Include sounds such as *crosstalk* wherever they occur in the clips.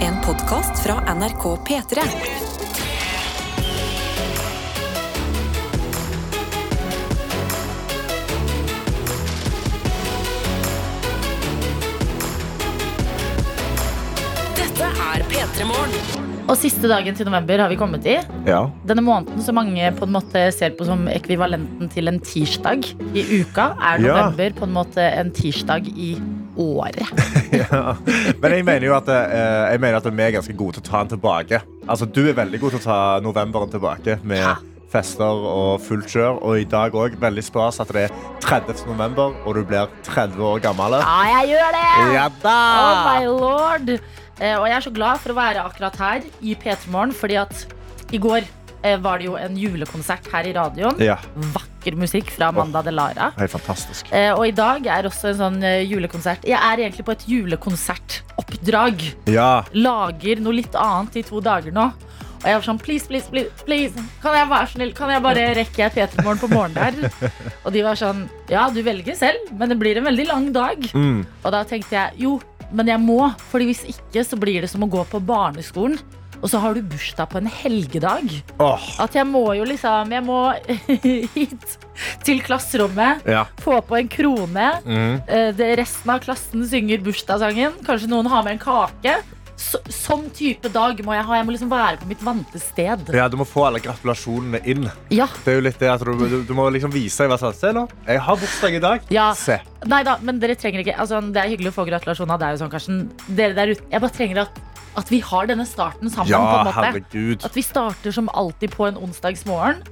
En podkast fra NRK P3. Dette er P3 Morgen. Og siste dagen til november har vi kommet i. Ja. Denne måneden som mange på en måte ser på som ekvivalenten til en tirsdag i uka, er Ja. november på en måte en tirsdag i året. Men jeg mener jo at, eh, jeg mener at vi er ganske gode til å ta den tilbake. Altså, du er veldig god til å ta novemberen tilbake med Ja. fester og fullt kjør. Og i dag òg veldig stas at det er 30. november, og du blir 30 år gammel. Ja, jeg gjør det! Ja da! Oh my lord! Eh, og jeg er så glad for å være akkurat her i P3 Morgen, fordi at i går eh, var det jo en julekonsert her i radioen. Ja, Vakker musikk fra Amanda Delara. helt fantastisk. Eh, og i dag er også en sånn eh, julekonsert. Jeg er egentlig på et julekonsertoppdrag. Ja. lager noe litt annet i to dager nå. Og jeg var sånn, please, please, please, please. Kan jeg være snill, kan jeg bare rekke P3-morgen på morgen der? Og de var sånn, ja, du velger selv, men det blir en veldig lang dag. Mm. Og da tenkte jeg, jo, men jeg må, fordi hvis ikke, så blir det som å gå på barneskolen. Og så har du bursdag på en helgedag. Åh. At jeg må jo liksom, jeg må *laughs* hit til klasserommet, Ja. få på en krone, Mm. Eh, det, resten av klassen synger bursdagssangen. Kanskje noen har med en kake. Så, sånn type dag må jeg ha. Jeg må liksom være på mitt vante sted. ja, Du må få alle gratulasjonene inn. Ja. Det er jo litt det at Du, du, du må liksom vise i hvert fall Se nå, jeg har bursdag i dag. Ja. Se. Nei da, men dere trenger ikke altså, Det er hyggelig å få gratulasjoner av deg og sånn, Karsten. Dere der ute. Jeg bare trenger at, at vi har denne starten sammen. Ja, på en måte. herregud. At vi starter som alltid på en onsdagsmorgen.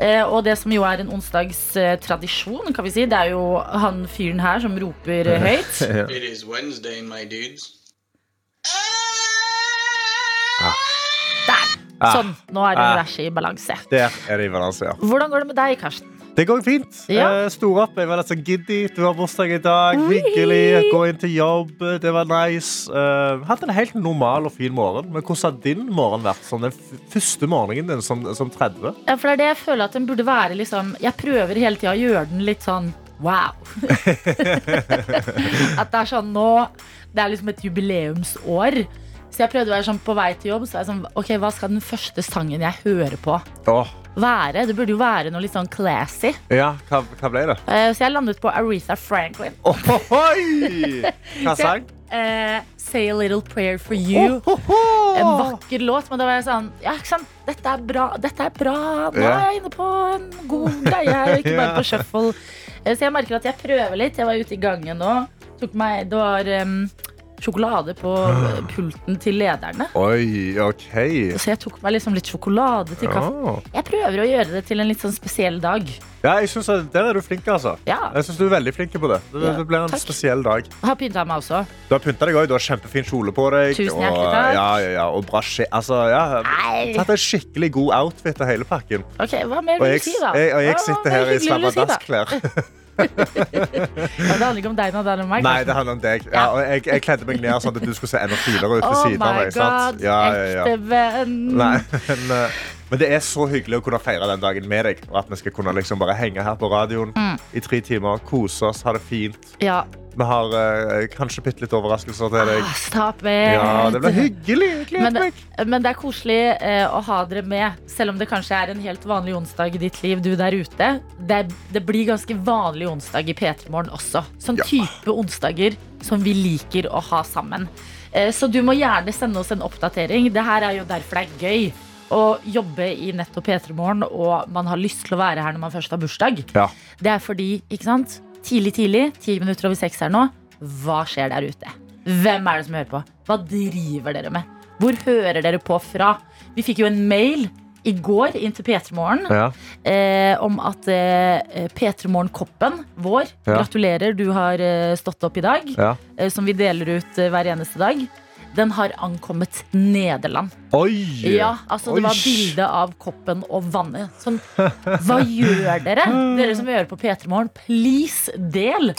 Eh, og det som jo er en onsdagstradisjon, kan vi si, det er jo han fyren her som *laughs* roper eh, høyt. It is Wednesday, my dudes. Der! Ah. Sånn. Nå er Ah. universet i balanse. Der er det i balanse, ja. Hvordan går det med deg, Karsten? Det går fint. Ja. Eh, Sto opp, jeg var litt sånn giddy. Du har bursdag i dag. Hyggelig. Gå inn til jobb. Det var nice. Uh, hatt en helt normal og fin morgen. Men hvordan har din morgen vært? Som den f- første morgenen din som, som 30? Ja, for det er det jeg føler at den burde være liksom Jeg prøver hele tida å gjøre den litt sånn *laughs* wow. at det er sånn nå Det er liksom et jubileumsår. Så jeg prøvde å være sånn på vei til jobb. Så er jeg sånn, ok, Hva skal den første sangen jeg hører på, Åh, være? Det burde jo være noe litt sånn classy. ja, hva, hva ble det? Eh, så jeg landet på Aretha Franklin. *laughs* Ohoi! Hva sang? Eh, Say a little prayer for you. Ohoho! En vakker låt, men da var jeg sånn Ja, ikke sant, dette er bra, dette er bra. Nå er Ja. jeg inne på en god greie her, ikke *laughs* bare på shuffle. Eh, Så jeg merker at jeg prøver litt. Jeg var ute i gangen nå. Tok meg, det var em, sjokolade på Ah. eh, pulten til lederne. Oi, OK. Så jeg tok meg liksom litt sjokolade til kaffe. Ja. Jeg prøver å gjøre det til en litt sånn spesiell dag. Ja, jeg synes at Der er du flink, altså. Ja, Jeg synes du er veldig flink på det. Det, Ja, det blir en takk. spesiell dag. Har pynta meg også. Du har pynta deg òg. Du har kjempefin kjole på deg. Tusen hjertelig og, takk. Ja, ja, ja, og bra skje... Altså, ja. Nei. Tatt en skikkelig god outfit av hele pakken. Ok, Hva mer Og vil jeg, du si, da? jeg, og Hva- jeg hva mer sitter her i hyggelig vil du si, da? *laughs* slabadasklær. Ja, det handler ikke om deg nå, det handler om meg. Nei, Karsten. det handler om deg. Ja, og jeg, jeg kledde meg ned sånn at du skulle se enda finere ut ved Oh siden av my meg. sant? god, Ja, ja, ja. ekte venn. Nei, *laughs* men, eh, men det er så hyggelig å kunne feire den dagen med deg. Og at vi skal kunne liksom bare henge her på radioen Mm. i tre timer, kose oss, ha det fint. Ja, Vi har eh, kanskje bitte litt overraskelser til deg. Ah, Stopp it. Ja, det blir hyggelig. Jeg Men, gleder meg. men det er koselig eh, å ha dere med, selv om det kanskje er en helt vanlig onsdag i ditt liv, du der ute. Det, det blir ganske vanlig onsdag i P3 Morgen også. Sånn Ja. type onsdager som vi liker å ha sammen. Eh, så du må gjerne sende oss en oppdatering. Det her er jo derfor det er gøy. Å jobbe i nettopp P3 Morgen, og man har lyst til å være her når man først har bursdag. Ja. Det er fordi, ikke sant? Tidlig, tidlig, ti minutter over seks her nå. Hva skjer der ute? Hvem er det som hører på? Hva driver dere med? Hvor hører dere på fra? Vi fikk jo en mail i går inn til P3morgen Ja. eh, om at eh, P3morgen-koppen vår Ja. Gratulerer, du har eh, stått opp i dag. Ja. Eh, som vi deler ut eh, hver eneste dag. Den har ankommet Nederland. Oi! Ja, altså det var Oi. bilde av koppen og vannet. Sånn, hva gjør dere? Dere som hører på P3 Morgen, please del.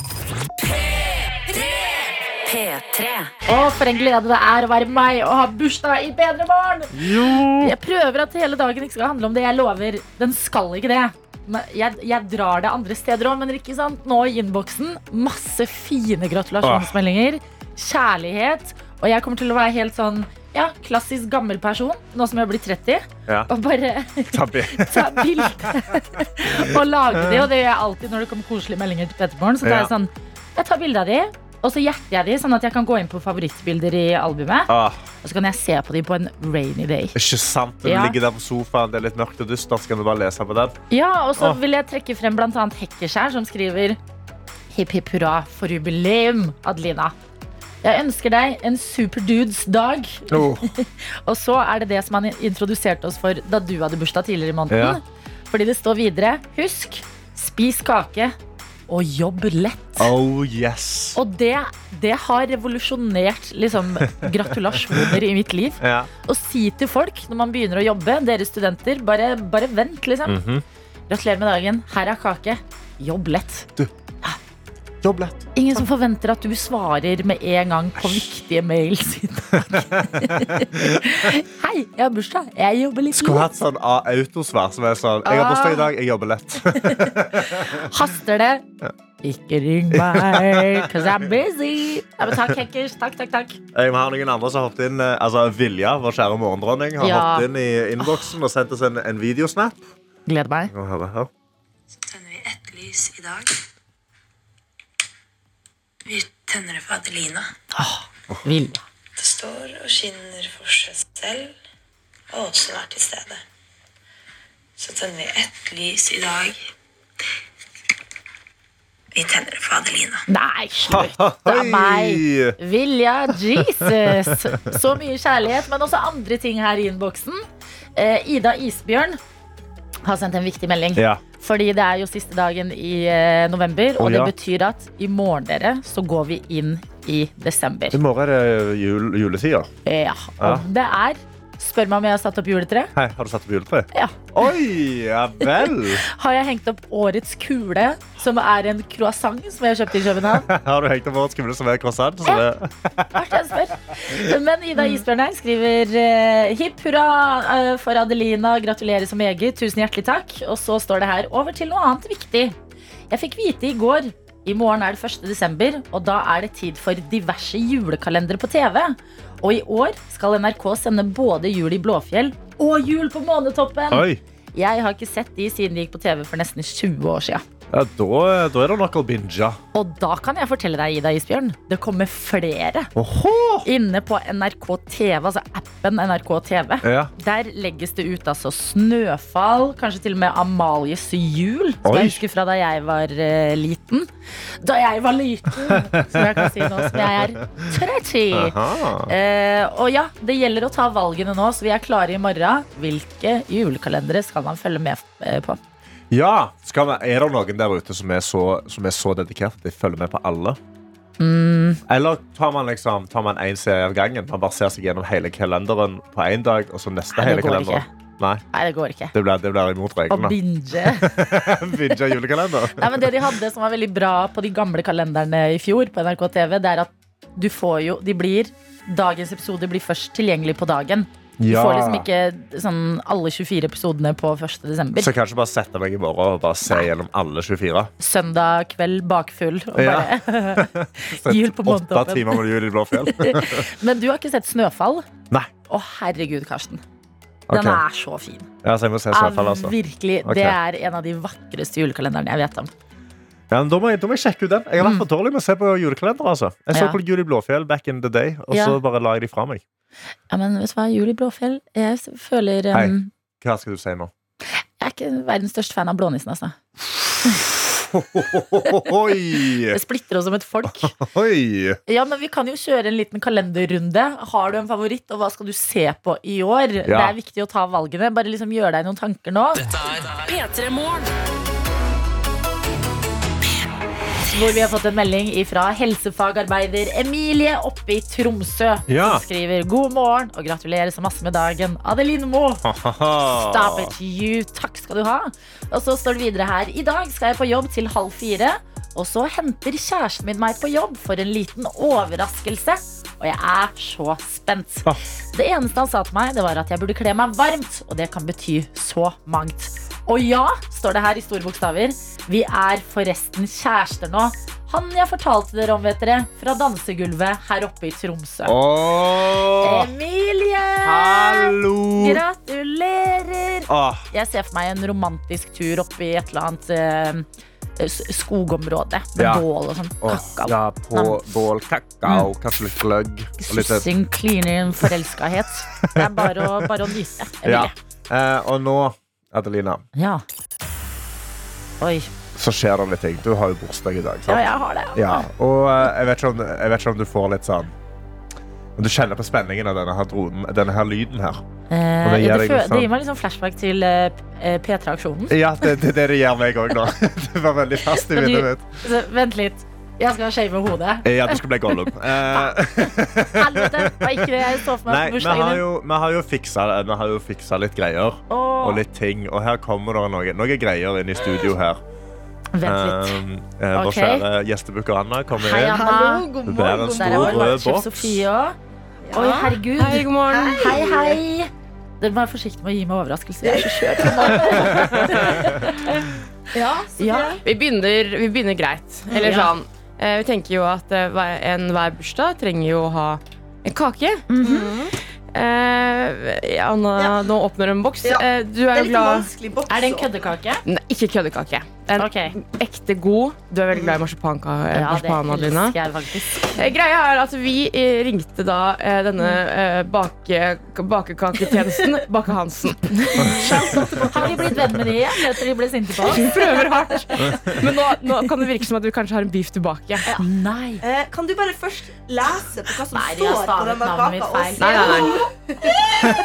P3. Å, for en glede det er å være meg og ha bursdag i P3 Morgen! Jeg prøver at hele dagen ikke skal handle om det. Jeg lover, den skal ikke det. Men Jeg, jeg drar det andre steder òg, men ikke sant? nå i innboksen. Masse fine gratulasjonsmeldinger. Kjærlighet. Og jeg kommer til å være helt sånn ja, klassisk gammel person, nå som jeg blir 30, Ja. og bare *laughs* Tabbe. ta bilde *laughs* og lage det. Og det gjør jeg alltid når det kommer koselige meldinger til Petterborn. Så da er jeg Ja. sånn, jeg tar bilde av de, og så hjerter jeg de, sånn at jeg kan gå inn på favorittbilder i albumet. Ah, Og så kan jeg se på de på en rainy day. ikke sant? Når du Ja. ligger der på sofaen, det er litt mørkt og dystert, så kan du bare lese på den. Ja, og så Åh. vil jeg trekke frem blant annet Hekkeskjær, som skriver Hipp hipp hurra for jubileum, Adelina. Jeg ønsker deg en superdudes dag. Oh. Og så er det det som han introduserte oss for da du hadde bursdag tidligere i Ja. måneden. Fordi det står videre Husk, spis kake og jobb lett. oh yes. Og det, det har revolusjonert liksom, *laughs* gratulasjoner i mitt liv. Ja. Å si til folk når man begynner å jobbe, dere studenter, bare, bare vent, liksom. Mhm. Gratulerer med dagen. Her er kake. Jobb lett. Jobb lett. Ingen som forventer at du svarer med en gang på viktige mails i dag. *laughs* Hei, jeg har bursdag. Jeg jobber litt. Skulle lett. hatt sånn ah, autosvar som er sånn Jeg har bursdag i dag, jeg jobber lett. *laughs* Haster det? Ikke ring meg, cause I'm busy. Ja, men takk, Hekkers. Takk, takk, takk. Jeg har noen andre som har hoppet inn eh, Altså Vilja, vår kjære morgendronning, har Ja. hoppet inn i innboksen og sendt oss en, en videosnap. Gleder meg. Nå hører jeg her. tenner vi ett lys i dag. Vi tenner det for Adelina. Vilja. Det står og skinner for seg selv, og oss som er til stede. Så tenner vi ett lys i dag. Vi tenner det for Adelina. Nei, slutt av *laughs* Oi! meg. Vilja, Jesus. Så mye kjærlighet, men også andre ting her i innboksen. Eh, Ida Isbjørn har sendt en viktig melding. Ja. Fordi det er jo siste dagen i eh, november, og Å, det ja. betyr at i morgen dere, så går vi inn i desember. I morgen er det jul, juletida. Ja, Ja. og det er Spør meg om jeg har satt opp juletre. Hei, har du satt opp juletre? Ja. Oi, ja vel. Har jeg hengt opp årets kule, som er en croissant som jeg kjøpte i København? *laughs* Har du hengt opp årets kule som er croissant? Så det, Artig jeg spør. Men Ida Isbjørn her skriver eh, hipp hurra eh, for Adelina. Gratulerer så meget. Tusen hjertelig takk. Og så står det her over til noe annet viktig. Jeg fikk vite i går i morgen er det 1. desember, og da er det tid for diverse julekalendere på TV. Og i år skal NRK sende både Jul i Blåfjell og Jul på Månetoppen. oi. Jeg har ikke sett de siden de gikk på TV for nesten 20 år siden. Ja, da, da er det nok å binge. Og da kan jeg fortelle deg, Ida Isbjørn, det kommer flere Åhå! inne på NRK TV, altså appen NRK TV. Ja. Der legges det ut altså Snøfall, kanskje til og med Amalies jul, som Oi. jeg husker fra da jeg var eh, liten. Da jeg var liten, som jeg kan si nå som jeg er 30. Aha. Eh, og ja, det gjelder å ta valgene nå, så vi er klare i morgen. Hvilke julekalendere skal man følge med eh, på? Ja, skal vi, er det noen der ute som er så, som er så dedikert at de følger med på alle? Mm. Eller tar man liksom Tar man én serie av gangen? Man bare ser seg gjennom hele kalenderen på én dag, og så neste Nei, hele det går kalender? Nei, Nei, det går ikke. det blir, det blir imot Å reglene. binge. *laughs* Binge julekalender. Nei, men Det de hadde som var veldig bra på de gamle kalenderne i fjor, på NRK TV, det er at du får jo De blir Dagens episode blir først tilgjengelig på dagen. Du Ja. får liksom ikke sånn alle 24 episodene på 1. desember. Så kanskje bare sette meg i morgen og bare se gjennom alle 24. Søndag kveld bakfull. Og Ja. bare. *laughs* Jul på Åtte månetoppen. timer med jul i *laughs* Blåfjell. Men du har ikke sett Snøfall? Nei. Å, herregud, Karsten. Den Ok. er så fin. Ja, så jeg må se Snøfall, altså. Ja, virkelig. Ok. Det er en av de vakreste julekalenderne jeg vet om. Ja, men da, må jeg, da må jeg sjekke ut den. Jeg har vært for dårlig med å se på julekalender. Altså. Jeg så Mm. Ja. på Jul i Blåfjell back in the day, og så Ja. bare la jeg de fra meg. Ja, men vet du hva, Jul i Blåfjell Jeg s- føler Hei. um, Hva skal du *laughs* si nå? Jeg er ikke verdens største fan av Blånissen, altså. Oi! Det splitter oss som et folk. Oi! Ja, men vi kan jo kjøre en liten kalenderrunde. Har du en favoritt, og hva skal du se på i år? Det er viktig å ta valgene. Bare liksom gjør deg noen tanker nå. P3 Morgen. Hvor vi har fått en melding fra helsefagarbeider Emilie oppe i Tromsø. Ja. Som skriver god morgen og gratulerer så masse med dagen. Adeline Moe. Stop Ah. it, you. Takk skal du ha. Og så står det videre her. I dag skal jeg på jobb til halv fire. Og så henter kjæresten min meg på jobb for en liten overraskelse. Og jeg er så spent. Ah. Det eneste han sa til meg, det var at jeg burde kle meg varmt. Og det kan bety så mangt. Og ja, står det her i store bokstaver, vi er forresten kjærester nå. Han jeg fortalte dere om, vet dere, fra dansegulvet her oppe i Tromsø. Åh. Emilie! Ah, Jeg ser for meg en romantisk tur opp i et eller annet eh, s- skogområde med Ja. bål og sånn. åh, Kakao. Mm. ja, på bål, kakao, kanskje litt gløgg. og litt- Sussing, klining, forelskahet. Det er bare å, bare å nyte. Jeg vil Ja. det. Eh, og nå, Adelina, ja. Oi. så skjer det litt ting. Du har jo bursdag i dag. Ja, sant? jeg har det. Ja, og eh, jeg vet, ikke om, jeg vet ikke om du får litt sånn Men du kjenner på spenningen av denne her dronen, denne her lyden her. Eh, Og det liksom ja, gjør det, jeg fø- også. det gir meg litt sånn flashback til eh, eh, P3-aksjonen. Ja, det det er det det gjør meg òg nå. *laughs* Det var veldig fast i Fordi- minnet mitt. Så, Vent litt. Jeg skal shave hodet. Ja, du skal bli *laughs* Gollum. Eh, Helvete! Det var ikke det jeg så for meg nei, på vi bursdagen har din. jo, vi har jo, fiksa, vi har jo fiksa litt greier. Åh, Og litt ting. Og her kommer det noe, noe greier inn i studio her. Vent litt. Eh, eh, vår Ok. kjære gjestebooker Anna kommer Hei, inn. Anna. Det er god en morgen. Der er stor vår rød vaktsjef eh, boks. Sofie òg. Oi, herregud. Hei, god morgen. Hei, hei. Dere må være forsiktige med å gi meg overraskelser. Jeg er så skjør. Ja, Ja. Vi, begynner, vi begynner greit. Eller Ja. sånn. eh, vi tenker jo at eh, hver- enhver bursdag trenger jo å ha en kake. Mhm. Eh, Anna, nå åpner hun en boks. Ja. Eh, du Det er er jo litt en glad vanskelig boks. Er det en å- køddekake? Nei, ikke køddekake. En Ok. ekte god. Du er Mm. veldig glad i marsipanka- eh, Ja, det marsipan, Adelina. elsker jeg faktisk. Eh, Greia er at vi eh, ringte da eh, denne Mm. eh, bake, bakekaketjenesten *laughs* Bake Hansen. Har de blitt venn med de igjen etter de ble sinte på oss? *laughs* Prøver hardt. Men nå, nå kan det virke som at du kanskje har en beef tilbake. Nei. Eh, kan du bare først lese på hva som Nei, de har står på stavet denne navnet kaka? mitt og feil. se- Nei, nei, nei.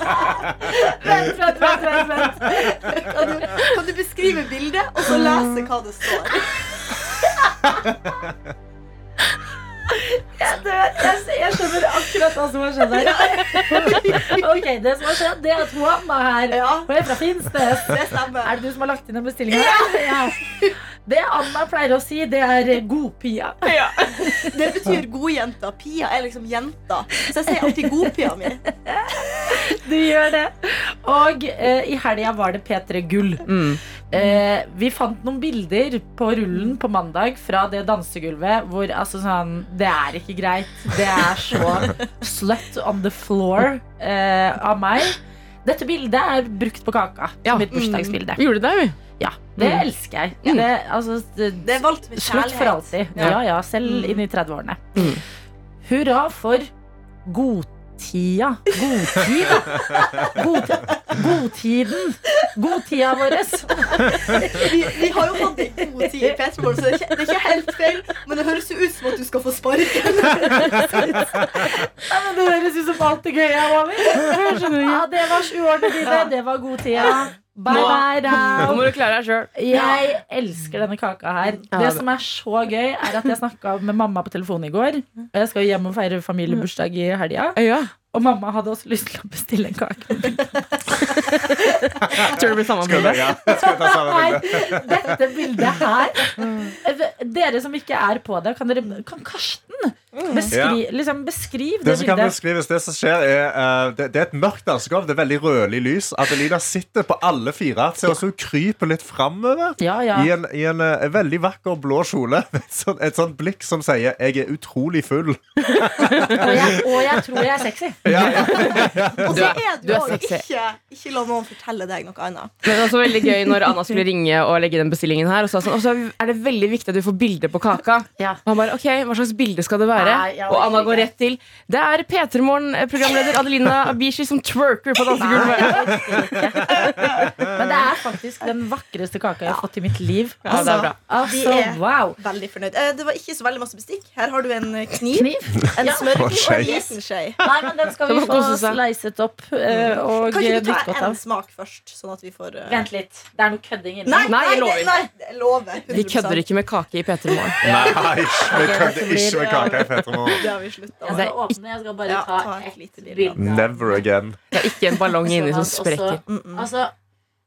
Vent, vent, vent, vent, vent. Kan, du, kan du beskrive bildet, og så lese hva det står? Jeg, dør. jeg, jeg skjønner akkurat hva som har skjedd her. *laughs* Ok, Det som har skjedd, det er at Juan er her. Ja, Og jeg er fra Finnsnes. det stemmer. Er det du som har lagt inn den bestillinga? *laughs* Ja. Det Anna pleier å si, det er eh, godpia. Det betyr godjenta. Pia er liksom jenta. Så jeg sier alltid godpia mi. Du gjør det. Og eh, i helga var det P3 Gull. Mm. Eh, vi fant noen bilder på rullen på mandag fra det dansegulvet hvor altså sånn Det er ikke greit. Det er så slut on the floor eh, av meg. Dette bildet er brukt på kaka. Ja. Mitt bursdagsbilde. Vi gjorde det, vi. Ja, det Mm. elsker jeg. Mm. Det, altså, det, Det er valgt med Slutt for kjærlighet. alltid. Ja. Ja, ja, selv inn i 30-årene. Mm. Hurra for godtida. Godtida. *laughs* God, godtiden. Godtida vår. Vi, vi har jo hatt en god tid i Peterborg, så det er, ikke, det er ikke helt feil. Men det høres jo ut som at du skal få sparken. Det høres ut som alt det gøye jeg var med. Ja, det var sjuårene dine. Det var godtida. Bye, bye, Nå down. må du klare deg sjøl. Jeg elsker denne kaka her. Ja, Det det- som er så gøy, er at jeg snakka med mamma på telefonen i går. Og jeg skal jo hjem og feire familiebursdag i helga. Ja. Og mamma hadde også lyst til å bestille en kake. Tror du det blir samme Skal bilde? jeg- ja, skal jeg ta samme bilde? Nei, dette bildet her Dere som ikke er på det, kan, dere, kan Karsten beskri, liksom beskriv det, Det som kan bildet? beskrives, det som skjer er eh, det, det er et mørkt dansegulv. Det er veldig rødlig lys. Adelina sitter på alle fire. Ser ut som hun kryper litt framover. Ja, ja. I en, i en eh, veldig vakker blå kjole. *laughs* Med et sånt, et sånt blikk som sier 'jeg er utrolig *laughs* full'. Og jeg, og jeg tror jeg er sexy. Og så er du du er òg sexy. ikke Ikke la noen fortelle deg noe annet. Men det var også veldig gøy når Anna skulle ringe og legge den bestillingen her. Og så, var det sånn, og så er det veldig viktig at du får bilde på kaka. Ja. Og han bare, ok, hva slags bilde skal det være? Nei, jeg og orker Anna ikke. går rett til. Det er P3 Morgen-programleder Adelina Abishi som twerker på dansegulvet. *laughs* Men det er faktisk den vakreste kaka jeg har fått i mitt liv. Ja, det er bra. Altså, De er- wow. Veldig fornøyd. Eh, Det var ikke så veldig masse bestikk. Her har du en kniv, Kniv? en Ja. smørkniv og Skei. en liten skje. Nei, men den *laughs* skal vi Det må få kose seg. sleiset opp eh, og Kan ikke du drikke ta godt en av. smak først, sånn at vi får eh, Vent litt. Det er noe kødding inni. Nei, Nei, nei, nei, jeg lover. nei, jeg lover. Vi kødder ikke med kake i P3 Morgen. *laughs* Nei, vi kødder dette ikke med blir- kaka i Petremor. Det har vi slutta Jeg Altså- med. skal åpne, jeg skal bare Ja, ta ta et ett lite bilde. bilde. Never again. Det er ikke en ballong inni som Sånn at sprekker. også- Altså,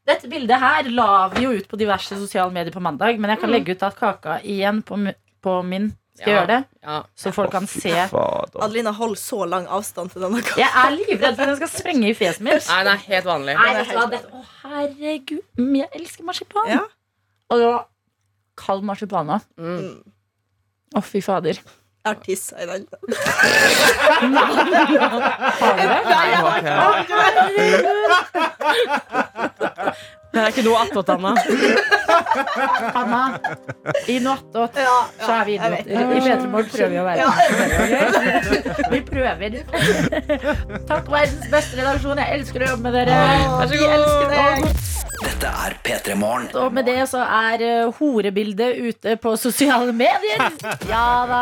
dette bildet her la vi jo ut på diverse sosiale medier på mandag, men jeg kan legge ut at kaka igjen på, mu- på min. Skal jeg Ja. gjøre det? Ja. Så folk kan se. Jeg Fader. Adelina holder så lang avstand til denne kaka. er livredd for at den skal sprenge i fjeset mitt. Nei, nei, helt vanlig. Nei, vet du hva? Dette- Å, herregud, mm, jeg elsker marsipan. Ja. Og det var kald marsipan òg. Mm. Å, fy fader. Jeg har tissa i den. Herregud. Det er ikke noe attåt, Anna. *laughs* Anna, i nattåt Ja, så er vi idioter. I Petremorgen prøver vi å være Ok? Vi prøver. Takk, verdens beste redaksjon. Jeg elsker å jobbe med dere. Vær så god. Dette er P3 Morgen. Og med det så er eh, horebildet ute på sosiale medier. Ja da.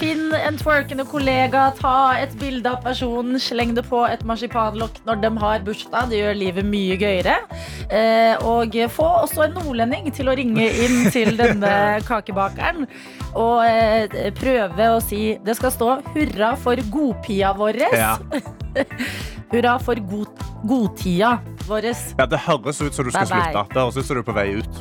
Finn en twerkende kollega, ta et bilde av personen, sleng det på et marsipanlokk når de har bursdag. Det gjør livet mye gøyere. Eh, og få også en nordlending til å ringe inn til denne kakebakeren og eh, prøve å si Det skal stå 'hurra for godpia vår'. Ja. *laughs* Hurra for god, godtida vår. Ja, det høres ut som du skal Bye bye. slutte. Det høres ut som du er på vei ut.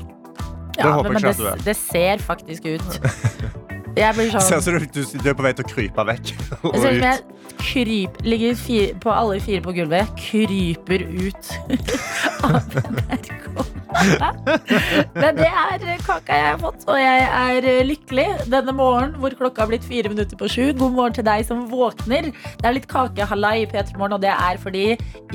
Det Ja, håper men jeg det, ikke at du er. det ser faktisk *laughs* ut. Jeg blir Ser sånn ut som du, du, du er på vei til å krype vekk. og Jeg ser ut som ut. jeg kryp, ligger fi- på alle fire på gulvet, kryper ut *laughs* av NRK. Men det er kaka jeg har fått, og jeg er lykkelig denne morgenen hvor klokka har blitt fire minutter på sju. God morgen til deg som våkner. Det er litt kakehallai i P3morgen, og det er fordi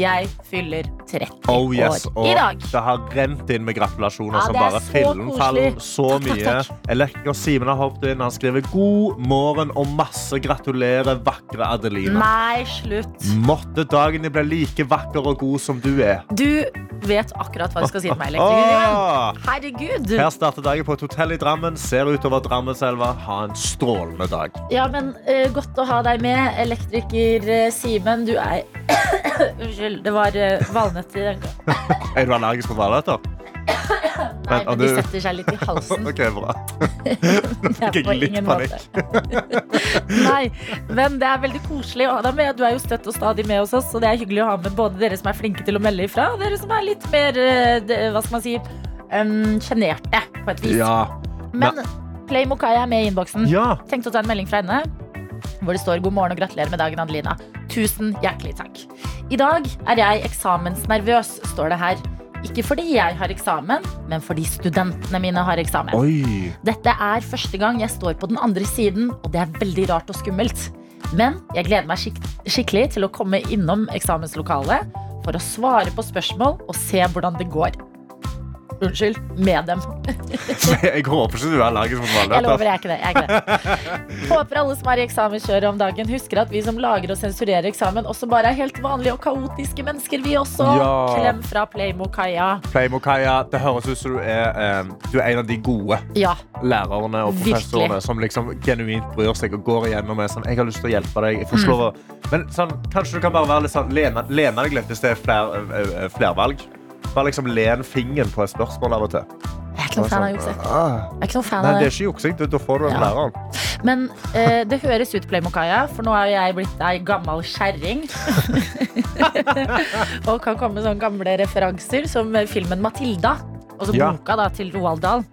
jeg fyller 30 Oh yes, år og i dag. det har rent inn med gratulasjoner Ja, som det er bare så fillen faller koselig. så Takk, mye. takk, Elektriker Simen har hoppet inn. Han skriver god morgen og masse gratulerer, vakre Adelina. Nei, slutt. Måtte dagen din bli like vakker og god som du er. Du vet akkurat hva du skal si til meg, elektriker. Åh! Herregud. Her starter dagen på et hotell i Drammen. Ser utover Drammenselva. Ha en strålende dag. Ja, men eh, godt å ha deg med, elektriker eh, Simen. Du er *coughs* Unnskyld, det var eh, valnøtt i den gangen. Er du allergisk mot valnøtter? *coughs* Nei, og men de du- setter seg litt i halsen. *laughs* OK, bra. Det er fikk på jeg litt ingen måte. Nei, men det er veldig koselig å ha deg med. Du er jo støtt og stadig med hos oss, så det er hyggelig å ha med både dere som er flinke til å melde ifra, og dere som er litt mer eh, det- Hva skal man si em, sjenerte, på et vis. Ja. Men Play Mokai er med i innboksen. ja. tenkte å ta en melding fra henne hvor det står 'God morgen og gratulerer med dagen, Adelina'. Tusen hjertelig takk. I dag er jeg eksamensnervøs, står det her. Ikke fordi jeg har eksamen, men fordi studentene mine har eksamen. Oi. *laughs* Dette er første gang jeg står på den andre siden, og det er veldig rart og skummelt. Men jeg gleder meg skik skikkelig til å komme innom eksamenslokalet for å svare på spørsmål og se hvordan det går. Unnskyld, med dem. Jeg håper ikke du er allergisk mot Jeg lover, valnøtter. jeg er ikke det. Jeg er ikke det. *laughs* Håper alle som er i eksamenskjøret om dagen, husker at vi som lager og sensurerer eksamen, også bare er helt vanlige og kaotiske mennesker, vi også. Ja. Klem fra Playmo Kaja. Playmo Kaja, det høres ut som du er, eh, du er en av de gode Ja, lærerne og professorene Virkelig. som liksom genuint bryr seg og går igjennom med sånn, jeg har lyst til å hjelpe deg. Jeg Mm. forstår. Men sånn, kanskje du kan bare være litt sånn, lene, lene deg litt hvis det er fler, eh, eh, flervalg. Bare liksom len fingeren på et spørsmål av og til. jeg er ikke noen fan av juksing. Ah. Jeg er ikke noen fan Nei, av det det. er ikke juksing. Da- Da får du en Ja. lærer. Men eh, det høres ut, Playmo Kaja, for nå er jo jeg blitt ei gammel *laughs* kjerring. og kan komme med sånne gamle referanser som eh, filmen Matilda, og så Ja. boka da, til Roald Dahl.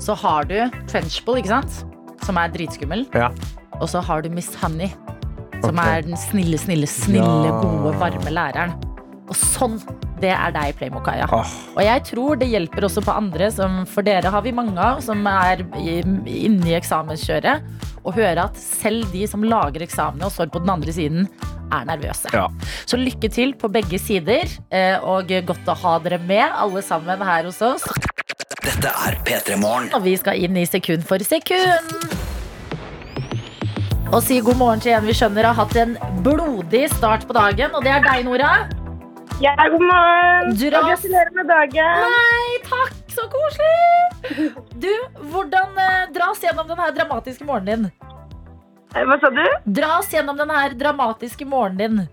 Så har du Trenchbull, ikke sant? Som er dritskummel. Ja. Og så har du Miss Honey, som Ok. er den snille, snille, snille, Ja. gode, varme læreren. Og sånn, det er deg, Playmokaja. Ah. Og jeg tror det hjelper også på andre, som for dere har vi mange av, som er i- inne i eksamenskjøret, å høre at selv de som lager eksamene og står på den andre siden, er nervøse. Ja. Så lykke til på begge sider, eh, og godt å ha dere med, alle sammen her hos oss. Dette er P3 Morgen. Og vi skal inn i sekund for sekund. Og si god morgen til en vi skjønner har hatt en blodig start på dagen. Og det er deg, Nora. Ja, god morgen. Dra- Og gratulerer med dagen. Nei, takk! Så koselig! Du, hvordan eh, dra oss gjennom den her dramatiske morgenen din? Eh, Hva sa du? Dra oss gjennom den her dramatiske morgenen din.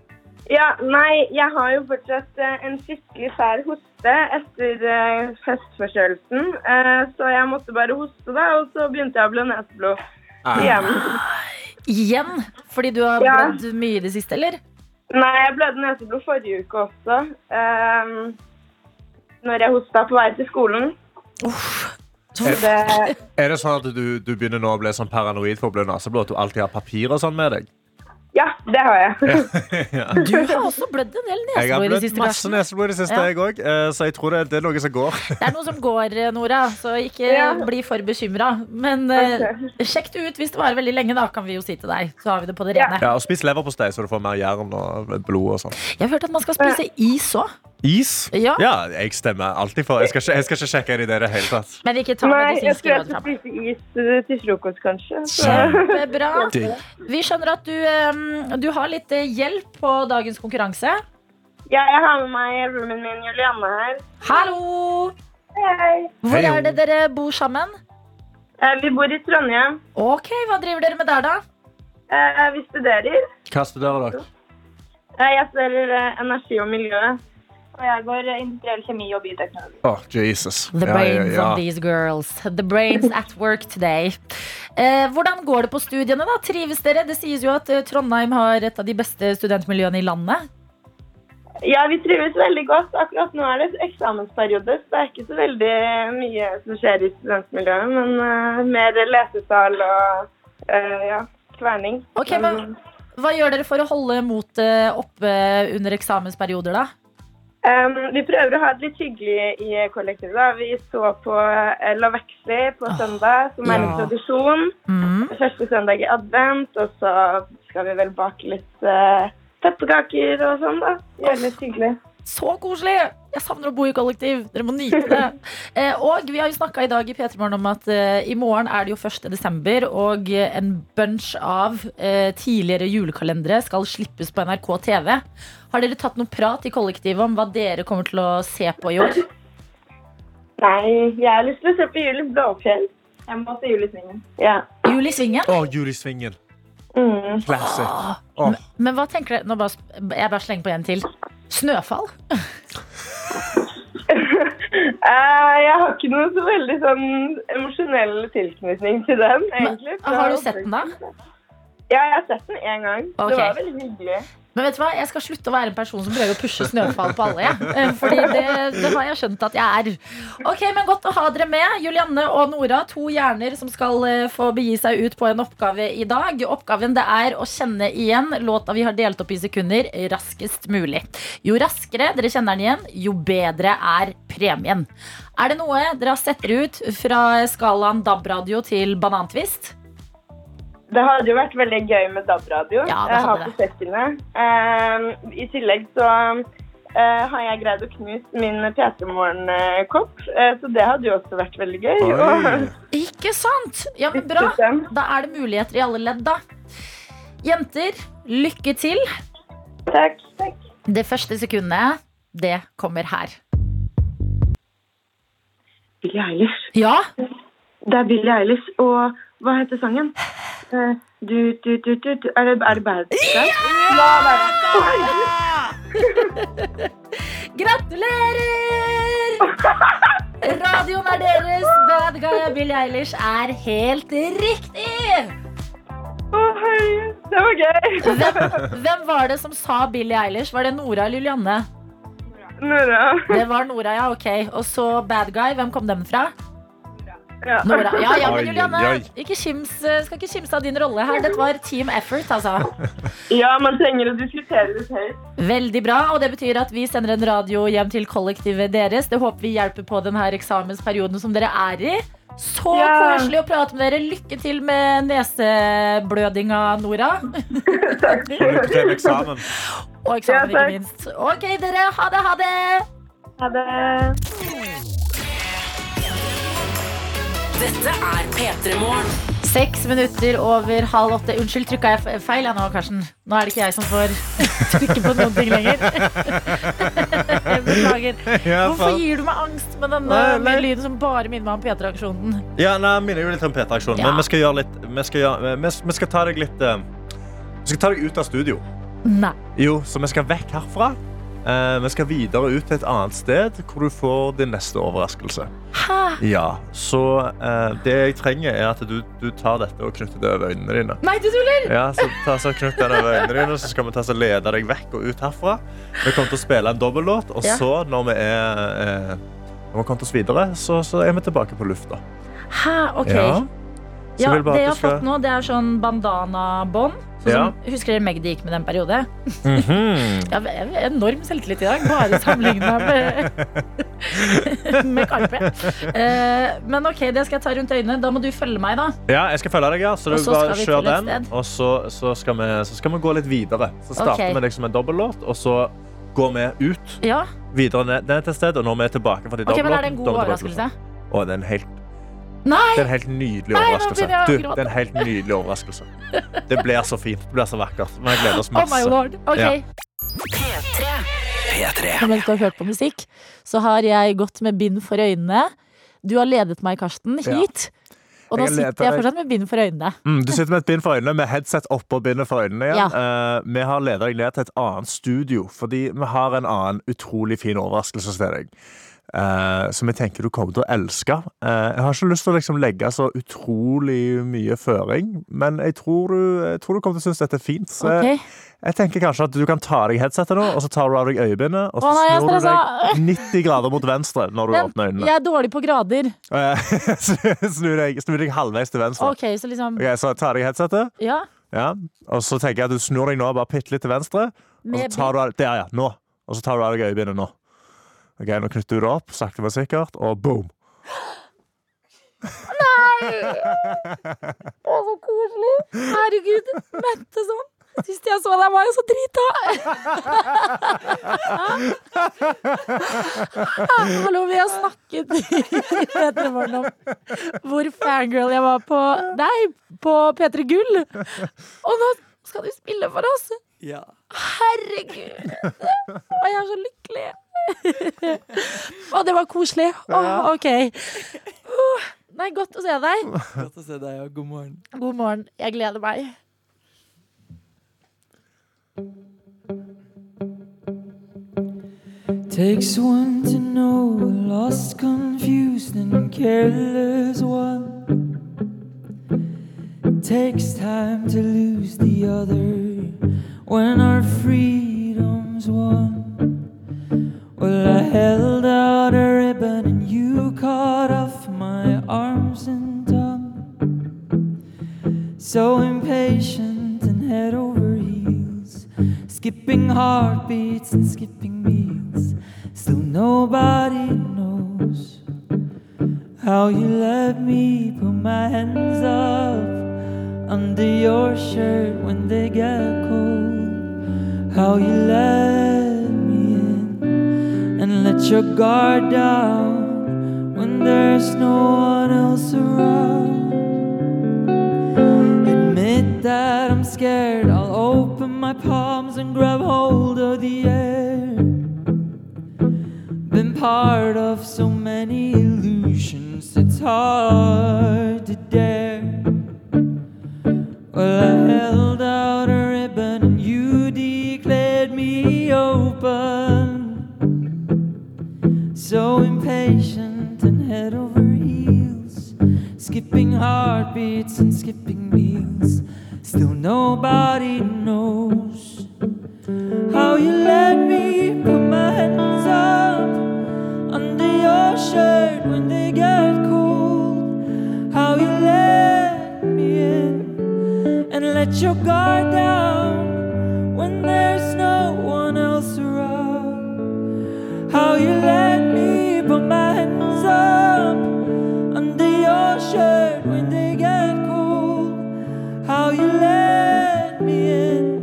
Ja, nei, jeg har jo fortsatt eh, en skikkelig fær hoste etter eh, høstforkjølelsen. Eh, så jeg måtte bare hoste, da, og så begynte jeg å blø neseblod. Igjen. Igjen? Fordi du har Ja. blødd mye i det siste, eller? Nei, jeg blødde neseblod forrige uke også. Eh, Ehm, når jeg hosta på vei til skolen. Så det, Er det sånn at du, du begynner nå å bli sånn paranoid for å bli naseblå? At du alltid har papir og sånn med deg? ja, Det har jeg. *laughs* ja. Du har også blødd en del Jeg har neseblod i det blødd siste. masse Karsten. neseblod i det siste, Ja. jeg òg, så jeg tror det, det er noe som går. Det er noe som går, eh, Nora, så ikke Ja. bli for bekymra. Men eh, *laughs* sjekk det ut hvis det varer veldig lenge, da kan vi jo si til deg. Så har vi det på det Ja. rene. Ja, og Spis leverpostei, så du får mer jern og blod og sånn. Jeg har hørt at man skal spise is òg. Is? Ja. jeg stemmer alltid for. Jeg skal ikke, jeg skal ikke sjekke inn i det i det hele tatt. Men ikke ta Nei, jeg medisinske tror jeg råd skal fram. spise is eh, til frokost, kanskje. Så. Kjempebra. Digg. Vi skjønner at du, eh, du har litt eh, hjelp på dagens konkurranse. Ja, jeg har med meg roomien min Julianne her. Hallo! Hei. Hvor Hei, er det dere bor sammen? Eh, Vi bor i Trondheim. Ok, Hva driver dere med der, da? Eh, Vi studerer. Hva studerer dere? Eh, Jeg studerer eh, energi og miljø. Og jeg går eh, industriell kjemi og bioteknologi. Å, Jesus. The Ja, ja, brains ja. of these girls. The brains at work today. Eh, hvordan går det på studiene? da? Trives dere? Det sies jo at eh, Trondheim har et av de beste studentmiljøene i landet. Ja, vi trives veldig godt. Akkurat nå er det eksamensperiode, så det er ikke så veldig mye som skjer i studentmiljøet, men eh, mer lesesal og eh, ja, kverning. Ok, men Hva gjør dere for å holde motet eh, oppe under eksamensperioder, da? Um, vi prøver å ha det litt hyggelig i kollektivet. Da. Vi så på eh, La Vexi på søndag, som er en Ah, ja. tradisjon. Mm. Første søndag i advent, og så skal vi vel bake litt eh, pepperkaker og sånn, da. Gjøre det litt hyggelig. Så koselig! Jeg savner å bo i kollektiv. Dere må nyte det. Eh, og vi har jo snakka i dag i P3 Morgen om at eh, i morgen er det jo 1. desember, og eh, en bunch av eh, tidligere julekalendere skal slippes på NRK TV. Har dere tatt noe prat i kollektivet om hva dere kommer til å se på i år? Nei, jeg har lyst til å se på Julie Blåfjell. Jeg må se Julesvingen. Ja. Jul i svingen? Å, Julisvingen. Mm. Classic. Å, Men hva tenker dere Nå bare, sp- jeg bare slenger på en til. Snøfall? Eh, jeg har ikke noe så veldig sånn emosjonell tilknytning til den, egentlig. Men har du sett den da? Ja, jeg har sett den én gang. Ok. Det var veldig hyggelig. Men vet du hva, jeg skal slutte å være en person som prøver å pushe snøfall på alle. Jeg. Eh, Fordi det, det har jeg skjønt at jeg er. Ok, men Godt å ha dere med. Julianne og Nora, to hjerner som skal eh, få begi seg ut på en oppgave i dag. Oppgaven det er å kjenne igjen låta vi har delt opp i sekunder, raskest mulig. Jo raskere dere kjenner den igjen, jo bedre er premien. Er det noe dere har sett dere ut fra skalaen DAB-radio til banantvist? Det hadde jo vært veldig gøy med DAB-radio. Ja, det jeg har hadde det. på kjøkkenet. Eh, I tillegg så eh, har jeg greid å knuse min PT-morgen-kopp, eh, så det hadde jo også vært veldig gøy. Oi. Ikke sant? Ja, men bra. byttet den. Da er det muligheter i alle ledd, da. Jenter, lykke til. Takk. Takk. Det første sekundet, det kommer her. Billie Eilish. Ja, Det er Billie Eilish, og hva heter sangen? Eh, Du, du, du, du, du. Er det, er det Bad Guys? Ja! gratulerer! Radioen er deres. Bad guy og Billie Eilish er helt riktig! Å, hei, det var gøy! Hvem, hvem var det som sa Billie Eilish? Var det Nora eller Julianne? Nora. Det var Nora, ja, ok. Og så Bad Guy. Hvem kom den fra? Ja. Nora. Ja, ja, Oi, men oi, Julianne, oi. ikke kims, skal ikke kimse av din rolle her. Dette var team effort, altså. ja, man trenger å diskutere litt høyt. Veldig bra, og det betyr at vi sender en radio hjem til kollektivet deres. Det håper vi hjelper på denne eksamensperioden som dere er i. Så Ja. koselig å prate med dere. Lykke til med neseblødinga, Nora. Og lykke til med eksamen. *laughs* Og eksamen, Ja, takk. ikke minst. Ok, dere. Ha det, ha det. Ha det. Dette er P3 Morgen. Seks minutter over halv åtte. Unnskyld, trykka jeg f- feil jeg nå, Karsten? Nå er det ikke jeg som får *laughs* trykke på noen ting lenger. *laughs* Beklager. Ja, Hvorfor faen. gir du meg angst med denne Nei, nei. lyden som bare minner meg om P3-aksjonen? ja nei, minner jo litt om P3-aksjonen, Ja. men vi skal gjøre litt Vi skal, gjøre, vi, vi skal ta deg litt eh, Vi skal ta deg ut av studio. Nei. Jo, så vi skal vekk herfra. Eh, vi skal videre ut til et annet sted hvor du får din neste overraskelse. Hæ? Ja, Så eh, det jeg trenger, er at du, du tar dette og knytter det over øynene dine. Nei, du tuller! Ja, så ta så knytt den over øynene dine, så skal vi ta så lede deg vekk og ut herfra. Vi kommer til å spille en dobbellåt, og Ja. så, når vi er eh, når vi har kommet oss videre, så, så er vi tilbake på lufta. Hæ, ok. Ja. Så Ja, jeg vil bare det jeg at du har skal- fått nå, det er sånn bandanabånd. Sånn Ja. som- Husker dere Magdi gikk med den periode? Mhm. Ja, jeg har enorm selvtillit i dag, bare sammenligna med, *laughs* med Karpe. Eh, men ok, det skal jeg ta rundt øynene. Da må du følge meg, da. Ja, jeg skal følge deg, ja. så du Og så bare skal vi til kjør et den. sted. Og så, så, skal vi, så skal vi gå litt videre. Så starter Ok. vi liksom en dobbellåt, og så går vi ut Ja, videre ned ned til et sted, og når vi er tilbake fra de ok, men Er det en god dobbellåten, da er det overraskelse? dobbellåt. Å, det er en helt, Nei! det er en helt nydelig Nei, nå overraskelse. begynner jeg å Du, gråte. det er en helt nydelig overraskelse. Det blir så fint. Det blir så vakkert. Vi gleder oss Oh my masse. lord. Ok. Ja. P3 mens du har hørt på musikk, så har jeg gått med bind for øynene. Du har ledet meg, Karsten, hit. Og nå Jeg leder sitter jeg deg. fortsatt med bind for øynene. Mm, du sitter med et bind for øynene, med headset oppå bindet for øynene igjen. Eh, vi har ledet deg ned til et annet studio, fordi vi har en annen utrolig fin overraskelse til deg. eh, som jeg tenker du kommer til å elske. Eh, jeg har ikke lyst til å liksom legge så utrolig mye føring, men jeg tror du, jeg tror du kommer til å synes dette er fint. Så jeg, Ok. jeg tenker kanskje at du kan ta av deg headsetet nå, og så tar du av deg øyebindet, og så Å, nei, jeg er snur du stressa. *laughs* deg 90 grader mot venstre når du åpner Men øynene. jeg er dårlig på grader. Eh, *laughs* snur, deg, snur deg halvveis til venstre. Ok, så liksom Sånn. Ok, så ta av deg headsetet. Ja. Ja, og så tenker jeg at du snur deg nå bare pitt litt til venstre. Og så Med tar du av, der, ja, nå. Og så tar du av deg øyebindet nå. Ok, Nå knytter du det opp, sakte, men sikkert, og boom. Å, så koselig. Herregud. Mette sånn. Sist jeg så deg, var jeg så drita. Hallo, vi har snakket i P3 Morgen om hvor fangirl jeg var på deg, på P3 Gull. Og nå skal du spille for oss. Herregud. Og jeg er så lykkelig. Å, det var koselig. Å, OK. Åh, Nei, godt å se deg. God morgen. Jeg gleder meg. Takes one to know a lost, confused, and careless one. Takes time to lose the other when our freedom's won. Well, I held out a ribbon and you cut off my arms and tongue. So impatient and head over heels, skipping heartbeats and skipping meals. Still nobody knows how you let me put my hands up under your shirt when they get cold. How you let me in and let your guard down when there's no one else around. Admit that I'm scared. I'll open my palms and grab hold of the air. Been part of so many illusions, it's hard to dare. Well, I held out a ribbon and you declared me open. So impatient and head over heels, skipping heartbeats and skipping meals. Still nobody knows how you let me put my hands up under your shirt when they get cold. How you let me in and let your guard down when there's no one else around. How you let me put my hands up under your shirt when they get cold. How you let me in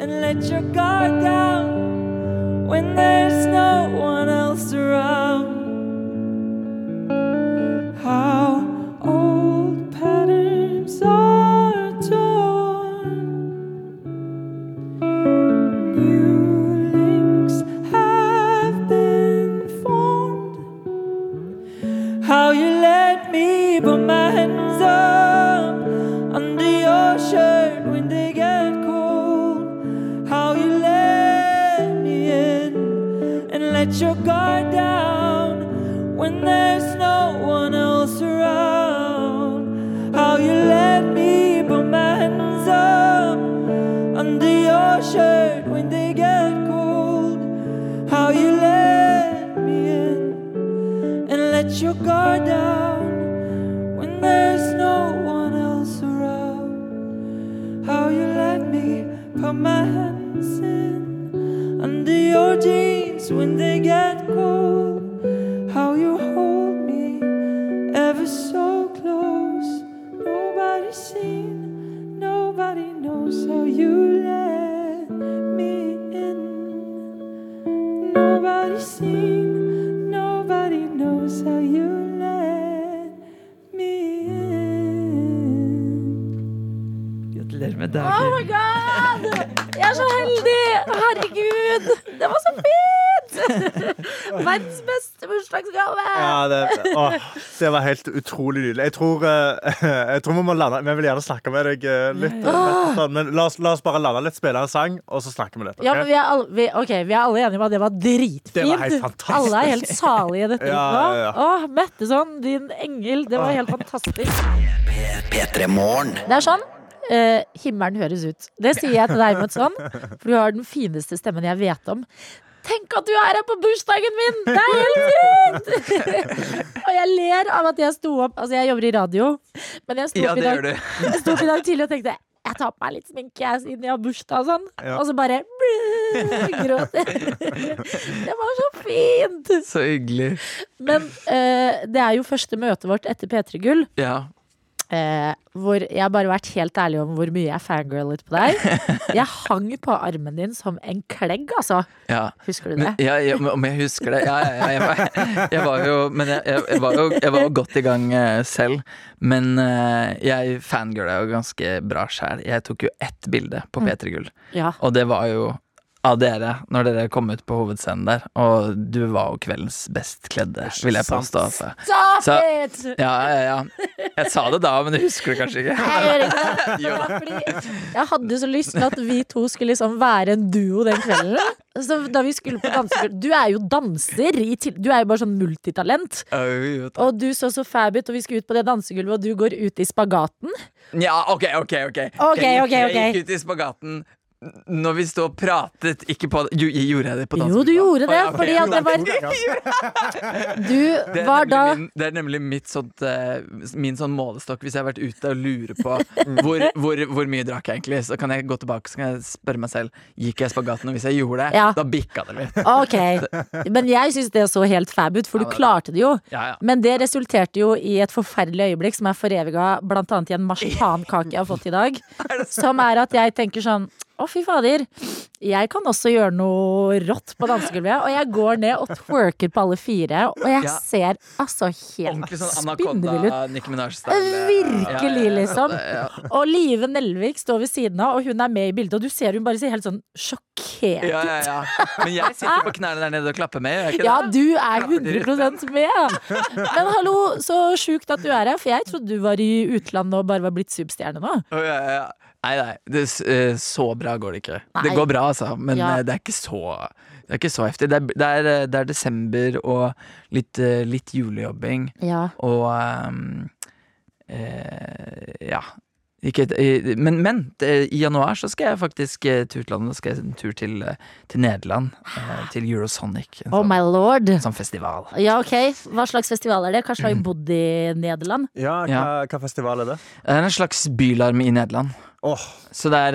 and let your guard down when there's no one else around. How old patterns are torn, new links have been formed. How you let me put my hands up under your shirt when they get cold. How you let me in and let your guard down when there's no one else around. How you let me put my hands up under your shirt when they get cold. How you let me in and let your guard down when there's no one else around. How you let put my hands in under your jeans when they get cold. How you hold me ever so close. Nobody's seen, nobody knows how you let me in. Nobody's seen, nobody knows how you let me in. Gratulerer med dagen. Oh my god! Jeg er så heldig! Herregud! Det var så *laughs* fint! Verdens beste bursdagsgave! Ja, det, åh, det var helt utrolig nydelig. Jeg tror, eh, *laughs* jeg tror vi må lande Vi vil gjerne snakke med deg eh, litt. eh, Åh. sånn, Men la oss, la oss bare lande litt, spille en sang, og så snakker vi litt. ok? Ja, men vi er, alle, vi, ok, vi er alle enige om at det var dritfint. Det var helt fantastisk. Alle er helt salige i dette. Ja, nå. ja, ja. Åh, Metteson, din engel. Det var helt fantastisk. P3morgen. Det er sånn. eh, himmelen høres ut. Det sier jeg til deg, Metteson, for du har den fineste stemmen jeg vet om. Tenk at du er her på bursdagen min! Det er helt fint! *laughs* og jeg ler av at jeg sto opp Altså, jeg jobber i radio, men jeg sto Ja, opp i det dag, gjør du. jeg sto opp i dag tidlig og tenkte jeg tar på meg litt sminke jeg, siden jeg har bursdag og sånn. Ja. Og så bare *laughs* gråter. *laughs* det var så fint! Så hyggelig. Men eh, det er jo første møtet vårt etter P3 Gull. Ja. Eh, hvor jeg har bare vært helt ærlig om hvor mye jeg fangirlet på *laughs* deg. Jeg hang på armen din som en klegg, altså. Ja. Husker du Men, det? ja, ja, men om jeg husker det? Ja, ja, ja, jeg, var, jeg var jo Men jeg, jeg, jeg, var jo, jeg var jo godt i gang eh, selv. Men eh, jeg fangirla jo ganske bra sjæl. Jeg tok jo ett bilde Mm. på P3 Gull. Ja. eh, Og det var jo av dere, når dere kom ut på hovedscenen der. Og du var jo kveldens best kledde, vil jeg sant. påstå. Altså. Stop Så- it! Ja, ja, ja. Jeg sa det da, men du husker det kanskje ikke. Jeg gjør ikke det. *laughs* Det var fordi jeg hadde så lyst til at vi to skulle liksom være en duo den kvelden. Så da vi skulle på dansegulv Du er jo danser. i til- Du er jo bare sånn multitalent. Au, ta- Og du så så fab ut, og vi skulle ut på det dansegulvet, og du går ut i spagaten. Ja, ok, ok, ok. Ok, jeg, gikk- ok, ok. jeg gikk ut i spagaten når vi stod og pratet, ikke på jo, Gjorde jeg det på dansen? Jo, du gjorde det, Å, fordi ja, at ok. det var Det Du er var nemlig da min, det er nemlig mitt sånt, eh, min sånn målestokk hvis jeg har vært ute og lurer på hvor, hvor, hvor mye drakk jeg egentlig. Så kan jeg gå tilbake Så kan jeg spørre meg selv Gikk jeg i spagaten. Og hvis jeg gjorde det, Ja. Ah, da bikka det litt. Ok, men jeg syns det så helt fab ut, for du klarte det jo. Ja, ja. Men det resulterte jo i et forferdelig øyeblikk som er foreviga blant annet i en marsipankake jeg har fått i *laughs* dag. Som er at jeg tenker sånn å, fy fader. Jeg kan også gjøre noe rått på dansegulvet. Og jeg går ned og twerker på alle fire, og jeg Ja. ser altså helt Ordentlig sånn spinnvill ut. anakonda Nicki Minaj-style. Virkelig, liksom. Ja, ja. Og Live Nelvik står ved siden av, og hun er med i bildet. Og du ser hun bare ser helt sånn sjokkert Ja, ja, ja. Men jeg sitter på knærne der nede og klapper med. Gjør jeg ikke Ja, det? du er 100 med! Men hallo, så sjukt at du er her, for jeg trodde du var i utlandet og bare var blitt superstjerne nå. Å, ja, ja, ja. Nei, nei. Det, s- eh, så bra går det ikke. Nei. Det går bra, altså, men Ja. eh, det er ikke så Det er ikke så heftig. Det er, det er, eh, det er desember og litt, eh, litt julejobbing. Ja. Og ehm, eh, Ja. Ikke, et- eh, men men det, i januar så skal jeg faktisk eh, til utlandet. Skal jeg en tur til, eh, til Nederland. eh, Til Eurosonic. En Oh my lord. sånn festival. Mm. Ja, ok. Hva slags festival er det? Kanskje du har bodd i Nederland? Ja, hva, festival er det? Det er en slags bylarm i Nederland. Så det er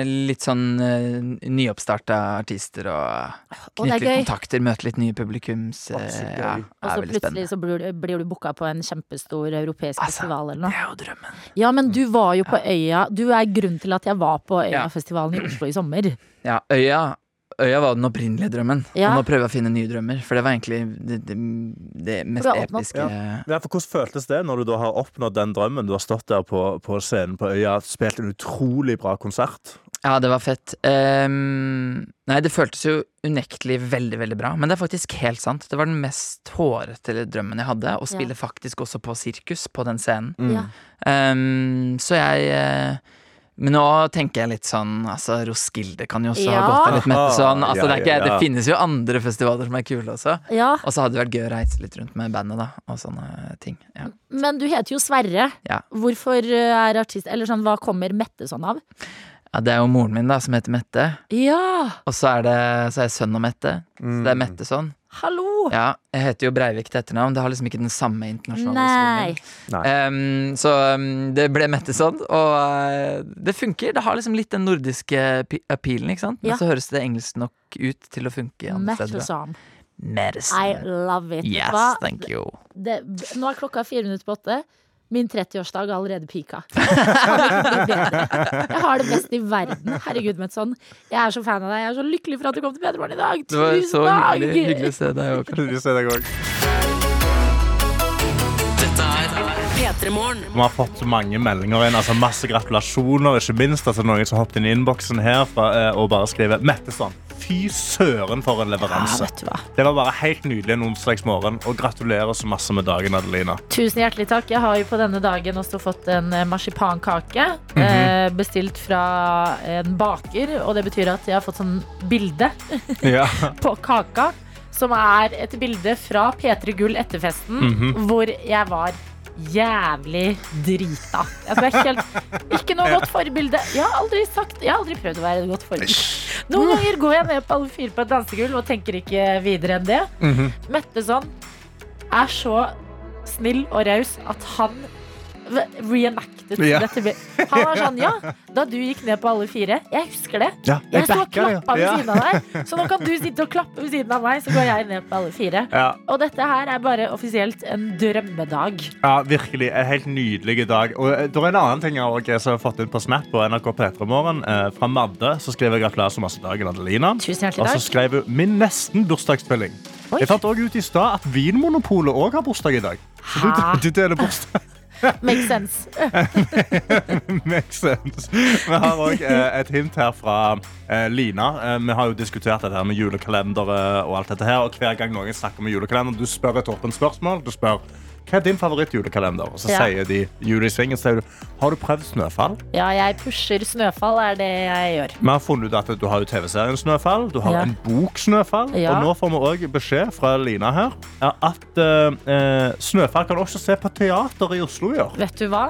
eh, litt sånn uh, nyoppstarta artister og Å, det er knytte litt gøy. kontakter, møte litt nye publikums. eh, ja, Og er så veldig spennende. Altså, plutselig så blir du, blir du booka på en kjempestor europeisk festival eller noe. Det er jo drømmen. Ja, men du var jo på Øya. Du er grunnen til at jeg var på Øyafestivalen i Oslo i sommer. *clears throat* Ja, øya, øya var den opprinnelige drømmen, Ja. og nå prøver jeg å finne nye drømmer. For det var egentlig det, det, det mest episke Ja, for hvordan føltes det når du da har oppnådd den drømmen? Du har stått der på, på scenen på Øya, spilt en utrolig bra konsert. Ja, det var fett. Ehm, nei, det føltes jo unektelig veldig, veldig bra. Men det er faktisk helt sant. Det var den mest hårete drømmen jeg hadde. Å spille faktisk også på sirkus på den scenen. Mm. Ja. Ehm, så jeg eh, Men nå tenker jeg litt sånn Altså, Roskilde kan jo også ha Ja. gått av litt mette sånn. Altså, Ah, Ja, det, er ikke, ja, ja. det finnes jo andre festivaler som er kule også. Ja. Og så hadde det vært gøy å reise litt rundt med bandet, da. Og sånne ting. Ja. Men du heter jo Sverre. ja. Hvorfor er artist Eller sånn, hva kommer Mette sånn av? ja det er jo moren min, da, som heter Mette. Ja! Mm. Og så er, det, så er jeg sønn av Mette. Så det er Mette sånn. Hallo! Ja, jeg heter jo Breivik til etternavn. Det har liksom ikke den samme internasjonale Nei. svingen. Em, så em, det ble mett sånn, og eh, det funker. Det har liksom litt den nordiske pi- appealen, ikke sant? Men Ja. så høres det engelsk nok ut til å funke andre steder. da. Mettesom. I Medicine. love it. Vet du Yes, hva? thank you. Det, nå er klokka fire minutter på åtte. Min 30-årsdag har allerede *laughs* pika. Kan ikke bli bedre. Jeg har det best i verden. Herregud, Metson. Jeg er så fan av deg. Jeg er så lykkelig for at du kom til Bedrebarn i dag. Det var Tusen så takk! hyggelig, hyggelig å se deg òg. Hyggelig å se deg òg. P3morgen. Vi har fått mange meldinger inn. altså Masse gratulasjoner. Ikke minst altså noen som hoppet inn i innboksen her fra, eh, og bare skriver Metteson. Fy søren, for en leveranse. Ja, vet du hva. det var bare helt nydelig en onsdagsmorgen. Og gratulerer så masse med dagen, Adelina. Tusen hjertelig takk. Jeg har jo på denne dagen også fått en eh, marsipankake. Mhm. eh, Bestilt fra en baker, og det betyr at jeg har fått sånn bilde Ja. på kaka. Som er et bilde fra P3 Gull etter festen, Mhm. hvor jeg var jævlig drita. Altså, jeg er helt, ikke *laughs* noe godt forbilde. Jeg har aldri sagt Jeg har aldri prøvd å være et godt forbilde. Noen ganger går jeg ned på alle fire på et dansegulv og tenker ikke videre enn det. Mhm. Mette sånn er så snill og raus at han v- reenacted Ja. dette. bil- Han var sånn, ja, da du gikk ned på alle fire, jeg husker det. Ja, jeg jeg sto og backer det, klappa ved ja. siden av deg, så nå kan du sitte og klappe ved siden av meg, så går jeg ned på alle fire. Ja. Og dette her er bare offisielt en drømmedag. Ja, virkelig. En helt nydelig dag. Og eh, det er en annen ting jeg også som jeg har fått inn på Snap på NRK P3 Morgen. Eh, fra Madde så skrev jeg gratulerer så masse dagen, Adelina. Tusen hjertelig Og så takk. skrev hun min nesten bursdagsspilling. Jeg fant også ut i stad at Vinmonopolet òg har bursdag i dag. Så Hæ? du, du deler bursdag. Makes sense. *laughs* Makes sense. Vi har òg eh, et hint her fra eh, Lina. Eh, vi har jo diskutert dette her med julekalendere og alt dette her. Og hver gang noen snakker om julekalender, du spør et åpent spørsmål. Du spør hva er din favorittjulekalender? Og så Ja. sier de jul i svingen. Så sier du har du prøvd Snøfall? Ja, jeg pusher snøfall, er det jeg gjør. Vi har funnet ut at du har jo TV-serien Snøfall, du har Ja. en bok Snøfall, Ja. og nå får vi også beskjed fra Lina her ja, at eh, eh, Snøfall kan også se på teater i Oslo i år. Vet du hva?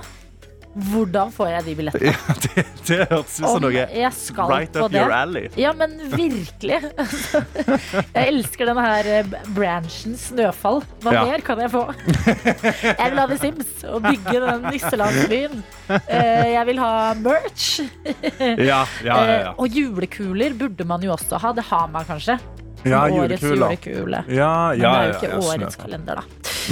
Hvordan får jeg de billettene? Ja, det, det hørtes ut som Om noe jeg skal right på up det. your alley. Ja, men virkelig. *laughs* Altså, Jeg elsker denne her eh, b- branchen Snøfall. Hva Ja. mer kan jeg få? Jeg vil ha The Sims og bygge den nisselandsbyen. Eh, Jeg vil ha merch. Ja, ja, ja, ja. Eh, Og julekuler burde man jo også ha. Det har man kanskje. Ja, Årets julekule. julekule. Ja, Men det ja, er jo ja, ikke ja, årets Snøfall. kalender, da.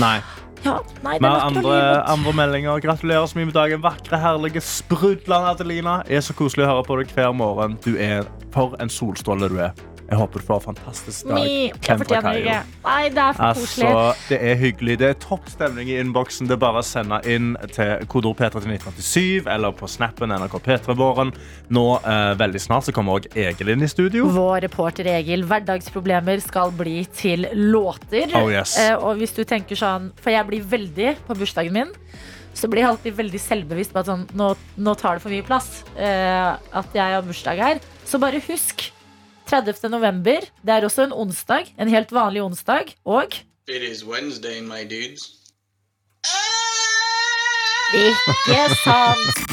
Nei. Ja, nei, Vi det er har nok andre, andre meldinger. Gratulerer så mye med dagen. Vakre, herlige sprudlende Adelina. Det er så koselig å høre på deg hver morgen. Du er for en solstråle du er. Jeg håper du får en fantastisk dag. Mi, jeg Ken fra fortjener Kairo. ikke. Nei, det er for koselig. Altså, det er hyggelig. Det er topp stemning i innboksen. Det er bare å sende inn til kodeord P3 til 1987 eller på snappen NRK P3-våren. Nå eh, veldig snart så kommer også Egil inn i studio. Vår reporter Egil, hverdagsproblemer skal bli til låter. Oh, yes. Eh, og hvis du tenker sånn, for jeg blir veldig på bursdagen min, så blir jeg alltid veldig selvbevisst på at sånn, nå, nå tar det for mye plass eh, at jeg har bursdag her. Så bare husk, 30. november, det er også en onsdag, en helt vanlig onsdag, og It is Wednesday, my dudes. ikke sant.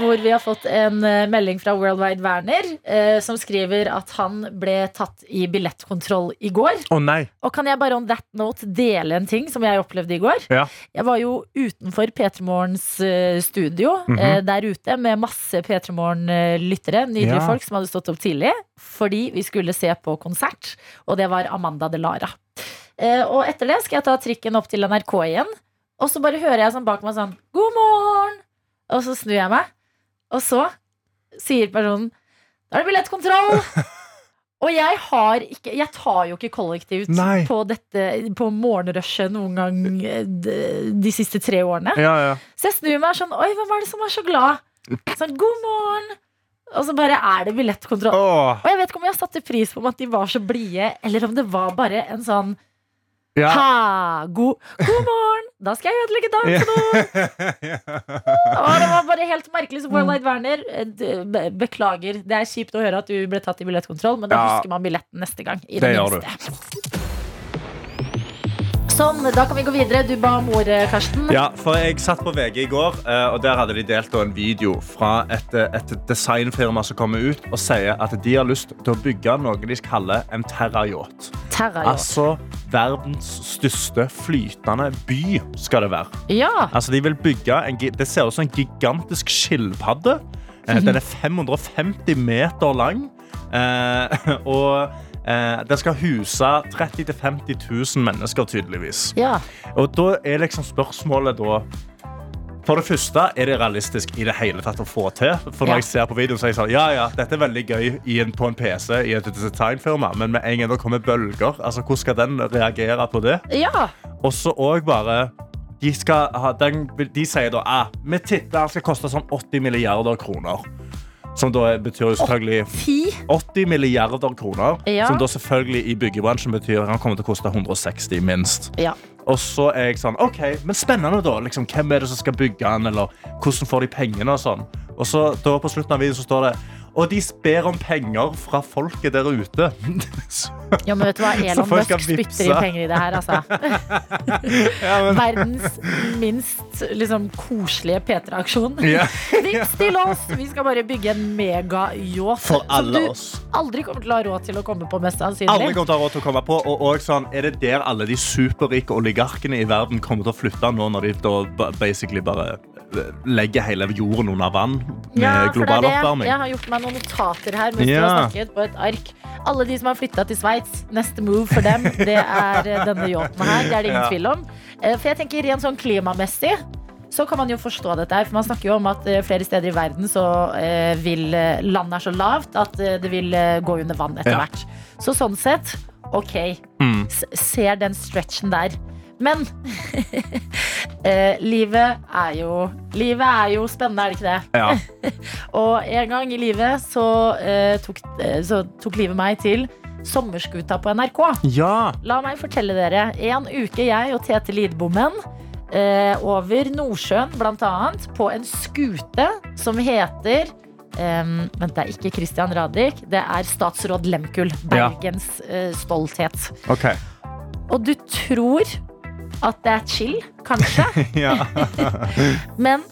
Hvor vi har fått en eh, melding fra Worldwide Werner eh, som skriver at han ble tatt i billettkontroll i går. Å nei. Og kan jeg bare on that note dele en ting som jeg opplevde i går? Ja. Jeg var jo utenfor P3 Morgens eh, studio Mhm. eh, der ute med masse P3 Morgen-lyttere, nydelige Ja. folk som hadde stått opp tidlig, fordi vi skulle se på konsert, og det var Amanda Delara. Eh, og etter det skal jeg ta trikken opp til NRK igjen, og så bare hører jeg sånn bak meg sånn God morgen! Og så snur jeg meg, og så sier personen Da er det billettkontroll! *laughs* Og jeg har ikke Jeg tar jo ikke kollektivt Nei. på dette På morgenrushet noen gang eh, de, de siste tre årene. Ja, ja. Så jeg snur meg sånn Oi, hvem er det som er så glad? Sånn, God morgen! Og så bare er det billettkontroll. Åh. Og jeg vet ikke om jeg satte pris på om at de var så blide, eller om det var bare en sånn Ja. Ha, god, god morgen! Da skal jeg ødelegge dagen for noen! Å, det var bare helt merkelig. Så Mm. Worldwide Werner, eh, d- be- beklager. Det er kjipt å høre at du ble tatt i billettkontroll, men da Ja. husker man billetten neste gang. I det, Det gjør minste. Sånn, da kan vi gå videre. Du ba om ordet, Karsten. Ja, for jeg satt på VG i går, eh, og der hadde de delt da en video fra et, eh, et designfirma som kommer ut og sier at de har lyst til å bygge noe de kaller en terrayacht. Terra, ja. Altså verdens største flytende by skal det være. Ja. Altså, de vil bygge en, gi- det ser ut som en gigantisk skilpadde. Eh, Den er 550 meter lang. Eh, *laughs* og eh, den skal huse 30 000-50 000 mennesker, tydeligvis. Ja. Og da er liksom spørsmålet da for det første, er det realistisk i det hele tatt å få til? For Ja. når jeg ser på videoen, så er jeg sånn, ja, ja, dette er veldig gøy i en, på en PC, i et designfirma, men med en gang det kommer bølger, altså, hvordan skal den reagere på det? ja. Og så òg bare De, skal ha, den, de sier da at ah, vi tipper den skal koste sånn 80 milliarder kroner. Som da betyr jo selvfølgelig 80 milliarder kroner. Ja. Som da selvfølgelig i byggebransjen betyr at han kommer til å koste 160 minst. Ja. Og så er jeg sånn, ok, men spennende da liksom, Hvem er det som skal bygge den, eller hvordan får de pengene og sånn Og så da på slutten av videoen så står det Og de ber om penger fra folket der ute *laughs* Så- Ja, men vet du hva? *laughs* Så Elon folk Musk skal spytter inn vippse. penger i det her, *laughs* altså. Verdens minst liksom, koselige P3-aksjon. Ja. Vips til oss! Vi skal bare bygge en megayacht. For alle som du oss. aldri kommer til å ha råd til å komme på, mest Alle sannsynlig. kommer til å ha råd til å komme på Og også sånn, er det der alle de superrike oligarkene i verden Kommer til å flytte nå Når de da ba- basically bare eh, Legger hele jorden under vann for Med det er global det. oppvarming Jeg har gjort meg noen notater her mens du har Ja. snakket på et ark. Alle de som har flytta til Sveits, neste move for dem, det er eh, denne yachten her. Det er det ingen Ja. tvil om. Eh, For jeg tenker rent sånn klimamessig så kan man jo forstå dette her, for man snakker jo om at eh, flere steder i verden så eh, vil eh, landet er så lavt at eh, det vil eh, gå under vann etter Ja. hvert. Så sånn sett, ok. Mm. S ser den stretchen der. Men *laughs* eh, livet er jo Livet er jo spennende, er det ikke det? Ja. *laughs* Og en gang i livet så, eh, tok, eh, så tok livet meg til Sommerskuta på NRK. Ja La meg fortelle dere. En uke jeg og Tete Lidbommen eh, over Nordsjøen, blant annet, på en skute som heter em, Vent, det er ikke Christian Radich. Det er statsråd Lehmkuhl. Ja. Bergens eh, stolthet. Ok *laughs* Og du tror at det er chill, kanskje, *laughs* men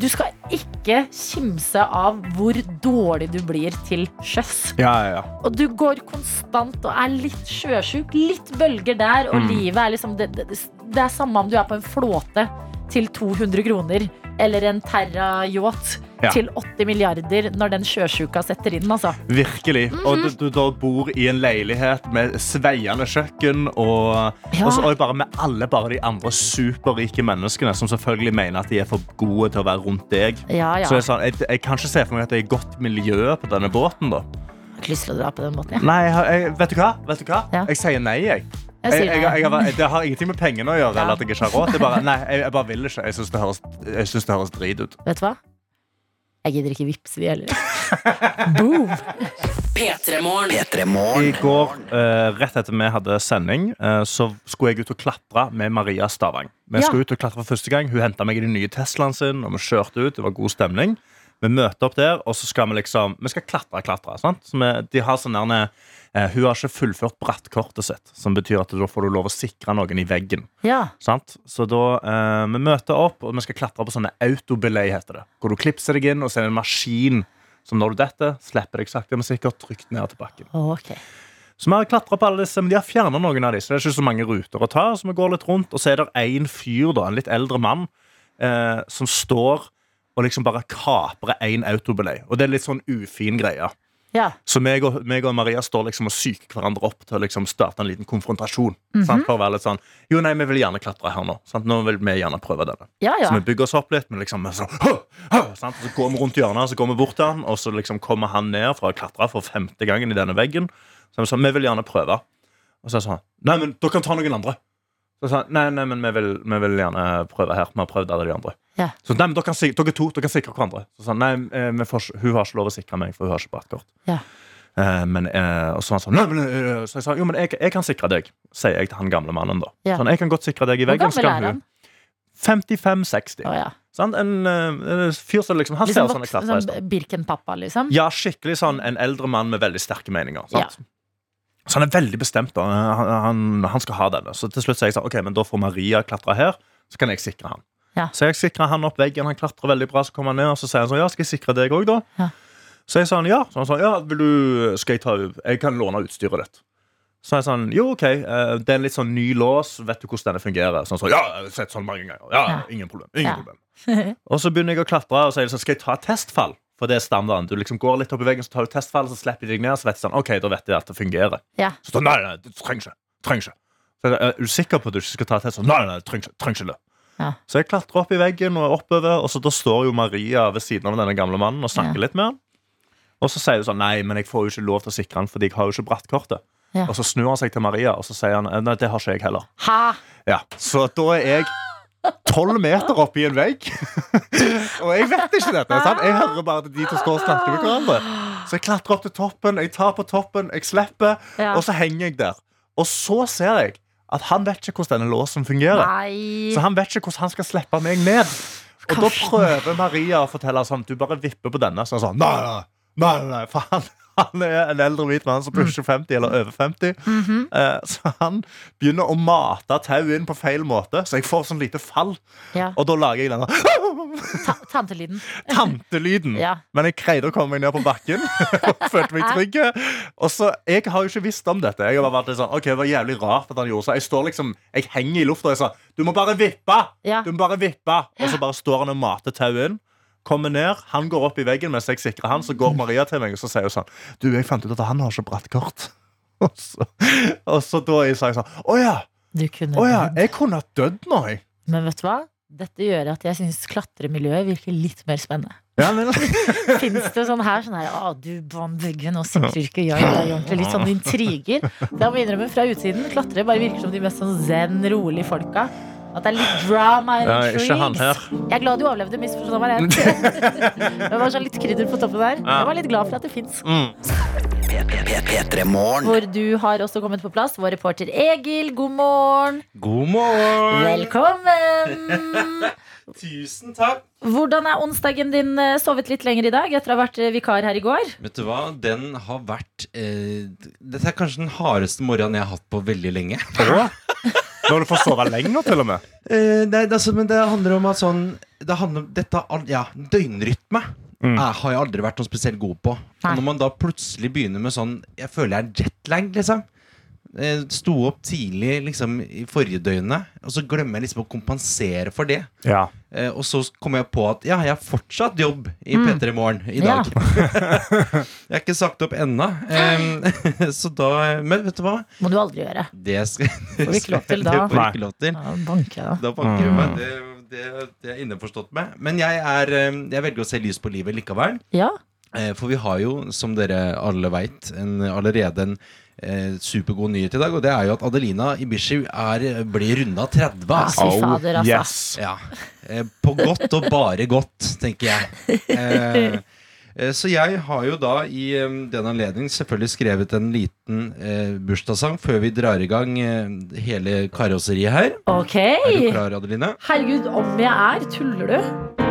du skal ikke kimse av hvor dårlig du blir til sjøs. Ja, ja, ja Og du går konstant og er litt sjøsjuk, litt bølger der, og Mm. livet er liksom det, det, det er samme om du er på en flåte til 200 kroner eller en terra-yacht Ja. til 80 milliarder når den sjøsjuka setter inn, altså. Virkelig. Og du, du da bor i en leilighet med sveiende kjøkken og, Ja. og så og bare med alle bare de andre superrike menneskene som selvfølgelig mener at de er for gode til å være rundt deg. Ja, ja. Så jeg, sånn, jeg, jeg kan ikke se for meg at det er godt miljø på denne båten, da. Jeg har ikke lyst til å dra på den måten, jeg. Nei, jeg, har- jeg, vet du hva? Vet du hva? Jeg sier nei, jeg. Jeg sier jeg, nei. jeg, har- det har ingenting med pengene å gjøre. Eller at jeg ikke har råd. Det er bare, nei, jeg, jeg bare vil ikke. Jeg syns det, høres- jeg synes det høres drit ut. Vet du hva? Jeg gidder ikke vippse *laughs* de heller. P3morgen. I går, eh, rett etter vi hadde sending, eh, så skulle jeg ut og klatre med Maria Stavang. Vi Ja. skulle ut og klatre for første gang. Hun henta meg i den nye Teslaen sin, og vi kjørte ut. Det var god stemning. Vi møter opp der, og så skal vi liksom Vi skal klatre, klatre. Sant? Så vi, de har sånn derne, eh, hun har ikke fullført brattkortet sitt, som betyr at da får du lov å sikre noen i veggen. Ja. Sant? Så da eh, vi møter opp, og vi skal klatre på sånne autobelay, heter det. Hvor du klipser deg inn, og så er det en maskin som når du detter, slipper deg sakte, men sikkert trygt ned til bakken. Ok. Så vi har klatret på alle disse, men de har fjernet noen av disse. Det er ikke så mange ruter å ta, så vi går litt rundt, og så er det en fyr, da, en litt eldre mann, eh, som står og liksom bare kaprer en autobelay. Og det er litt sånn ufin greie. Ja. Så meg og, meg og Maria står liksom og syker hverandre opp til å liksom starte en liten konfrontasjon. sant? Mhm. For å være litt sånn Jo, nei, vi vil gjerne klatre her nå. Sant? Nå vil vi gjerne prøve denne. Ja, ja. Så vi bygger oss opp litt, men liksom så, sant? så går vi rundt hjørnet, så går vi bort til han, og så liksom kommer han ned for å klatre for femte gangen i denne veggen. Så vi sa vi vil gjerne prøve. Og så sa han nei, men dere kan ta noen andre. Så sa han nei, nei, men vi vil, vi vil gjerne prøve her. Vi har prøvd alle de andre. Ja. Så nei, men dere, kan, sik- dere to dere kan sikre hverandre. Så sa han nei, eh, vi får, ikke- hun har ikke lov å sikre meg, for hun har ikke brattkort. Ja. Eh, men, eh, og så var han sånn Nei, men, eh, Så jeg sa jo, men jeg, jeg kan sikre deg, sier jeg til han gamle mannen. da Ja. Sånn, jeg kan godt sikre deg i Hvor gammel veggen. så kan er hun- 55-60. Sant? En eh, fyr som liksom Han Liksom ser ut som han er voksen- klatra i sånn stand. Birken-pappa, liksom. Ja, skikkelig sånn en eldre mann med veldig sterke meninger. Sant? Så han er veldig bestemt. Da. Han, han, han skal ha denne. Så til slutt sier jeg sånn, ok, men da får Maria klatre her, så kan jeg sikre han. Ja. Så jeg sikrer han opp veggen, han klatrer veldig bra, så kommer han ned, og så sier han sånn, ja, skal jeg sikre deg òg, da? Ja. Så jeg sa han ja. Så han sa ja, vil du, skal jeg ta Jeg kan låne utstyret ditt. Så jeg sånn, jo ok, eh, det er en litt sånn ny lås, vet du hvordan denne fungerer? Så han sa, ja, jeg har sett sånn mange ganger. Ja, ingen problem, Ja. ingen problem. Og så begynner jeg å klatre og så er det sånn, skal jeg ta et testfall? For det er standarden. Du liksom går litt opp i veggen, så tar du testfall, så slipper de deg ned, så vet de sånn, ok, da vet de at det fungerer. Ja. Så sånn, nei, nei, du trenger ikke, trenger ikke. Så jeg, er du sikker på at du ikke skal ta et test? Nei, nei, nei, trenger ikke, trenger ikke det. Ja. Så jeg klatrer opp i veggen og oppover, og så da står jo Maria ved siden av denne gamle mannen og snakker litt med han. Og så sier hun sånn, nei, men jeg får jo ikke lov til å sikre han, fordi jeg har jo ikke brattkortet. Ja. Og så snur han seg til Maria, og så sier han, nei, det har ikke jeg heller. Hæ? Ja, så da er jeg tolv meter opp i en vegg. *laughs* og jeg vet ikke dette. Sant? Jeg hører bare at de to står og snakker med hverandre. Så jeg klatrer opp til toppen, jeg tar på toppen, jeg slipper, Ja. og så henger jeg der. Og så ser jeg at han vet ikke hvordan denne låsen fungerer. Nei. Så han vet ikke hvordan han skal slippe meg ned. Og da prøver Maria å fortelle sånn Du bare vipper på denne. Så han sånn, nei, nei, nei, nei, for han, han er en eldre hvit mann som pusher 50 eller over 50. Eh, Så han begynner å mate tauet inn på feil måte, så jeg får sånn lite fall. Ja. Og da lager jeg denne *gasps* Ta tantelyden. tantelyden. Ja. Men jeg greide å komme meg ned på bakken. *laughs* og Følte meg trygg. Og så, Jeg har jo ikke visst om dette. Jeg har bare vært litt sånn, ok, Det var jævlig rart at han gjorde så. Jeg står liksom, jeg henger i lufta og jeg sa du må bare vippe! Ja. Du må bare vippe! Og så bare står han og mater tauet inn. Kommer ned, Han går opp i veggen mens jeg sikrer han. Så går Maria til meg og så sier hun sånn Du, jeg fant ut at han har ikke brattkort. *laughs* Og så, og så da jeg sa jeg sånn Å ja! Du kunne Å ja! Jeg kunne ha dødd nå, jeg. Men vet du hva? Dette gjør at jeg syns klatremiljøet virker litt mer spennende. Ja, men, Fins det sånn her sånn her Å, du vant veggen og sikrer ikke ja, ja, ja, ordentlig. Litt sånne intriger. Så jeg må innrømme, fra utsiden, klatrere bare virker som de mest sånn zen, rolige folka. At det er litt drama and Ja, ikke han intrigues. Jeg er glad du overlevde, misforstå meg rett. Det var sånn litt krydder på toppen der. Ja. Jeg var litt glad for at det fins. P3morgen. Hvor du har også kommet på plass, vår reporter Egil. God morgen. *laughs* God morgen! Velkommen. *laughs* Tusen takk. Hvordan er onsdagen din? eh, Sovet litt lenger i dag etter å ha vært eh, vikar her i går? Vet du hva, den har vært eh, Dette er kanskje den hardeste morgenen jeg har hatt på veldig lenge. Når du får sove lenger, til og med. Eh, nei, det, er altså, men det handler om at sånn det handler, om- Dette er al- ja, døgnrytme er, har jeg aldri vært noe spesielt god på. Og når man da plutselig begynner med sånn Jeg føler jeg er jetlag, liksom. Eh, Sto opp tidlig liksom, i forrige døgnet, og så glemmer jeg liksom å kompensere for det. Ja. Eh, og så kom jeg på at ja, jeg har fortsatt jobb i Mm. P3 Morgen i dag. jeg er ikke sagt opp ennå. Eh, *laughs* så da Men vet du hva? Må du aldri gjøre. Det skal Får vi ikke lov til da. *laughs* Det får vi ikke lov til. Ja, banker jeg, da. Da banker du Mm. meg. Det, det, det er innforstått med. Men jeg, er, eh, jeg velger å se lys på livet likevel. Ja. Eh, For vi har jo, som dere alle veit, en, allerede en eh, supergod nyhet i dag. Og det er jo at Adelina Ibishi er, blir runda 30. altså. fy fader, altså. yes. Ja. Eh, På godt og bare godt, tenker jeg. Eh, eh, Så jeg har jo da i eh, den anledning selvfølgelig skrevet en liten eh, bursdagssang før vi drar i gang eh, hele karosseriet her. Ok. Er du klar, Adeline? Herregud, om jeg er. Tuller du?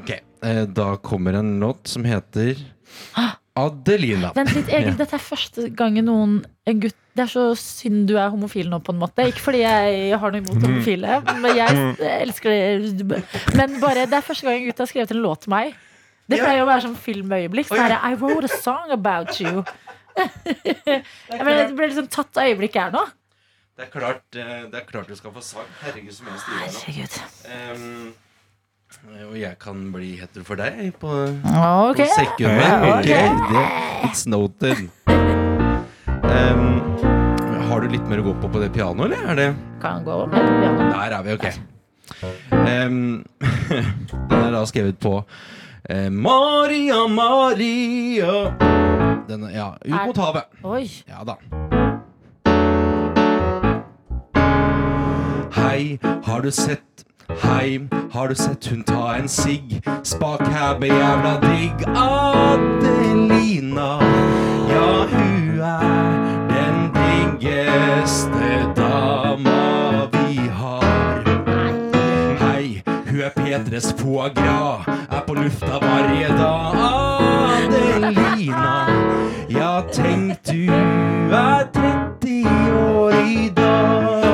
Ok, eh, da kommer en låt som heter Adelina. Vent litt, Egil. Ja. Dette er første gangen noen en gutt Det er så synd du er homofil nå, på en måte. Ikke fordi jeg har noe imot Mm. homofile, men jeg Mm. elsker det. Men bare, det er første gang en gutt har skrevet en låt til meg. Det pleier å være sånn filmøyeblikk. Sånn her, I wrote a song about *laughs* you. Jeg ble, jeg ble liksom tatt av øyeblikket her nå. Det er klart, eh, det er klart du skal få sang. Herregud, så mye jeg styrer nå. Em, Ehm, eh, og jeg kan bli hetero for deg på, Ja, ok. på sekundet. Ja, ok. Ok, det- It's noted. Em, har du litt mer å gå på på det pianoet, eller? Er det Kan gå opp med piano. Der er vi, ok. Em, den er da skrevet på eh, Maria, Maria den, er- Ja, ut mot havet. Oi. Ja da. Hei, har du sett? Hei, har du sett hun ta en sigg? Spak hæbe jævla digg. Adelina, ja hun er den diggeste dama vi har. Hei, Hun er P3s foie gras. Er på lufta hver dag. Adelina, ja, tenk du er 30 år i dag.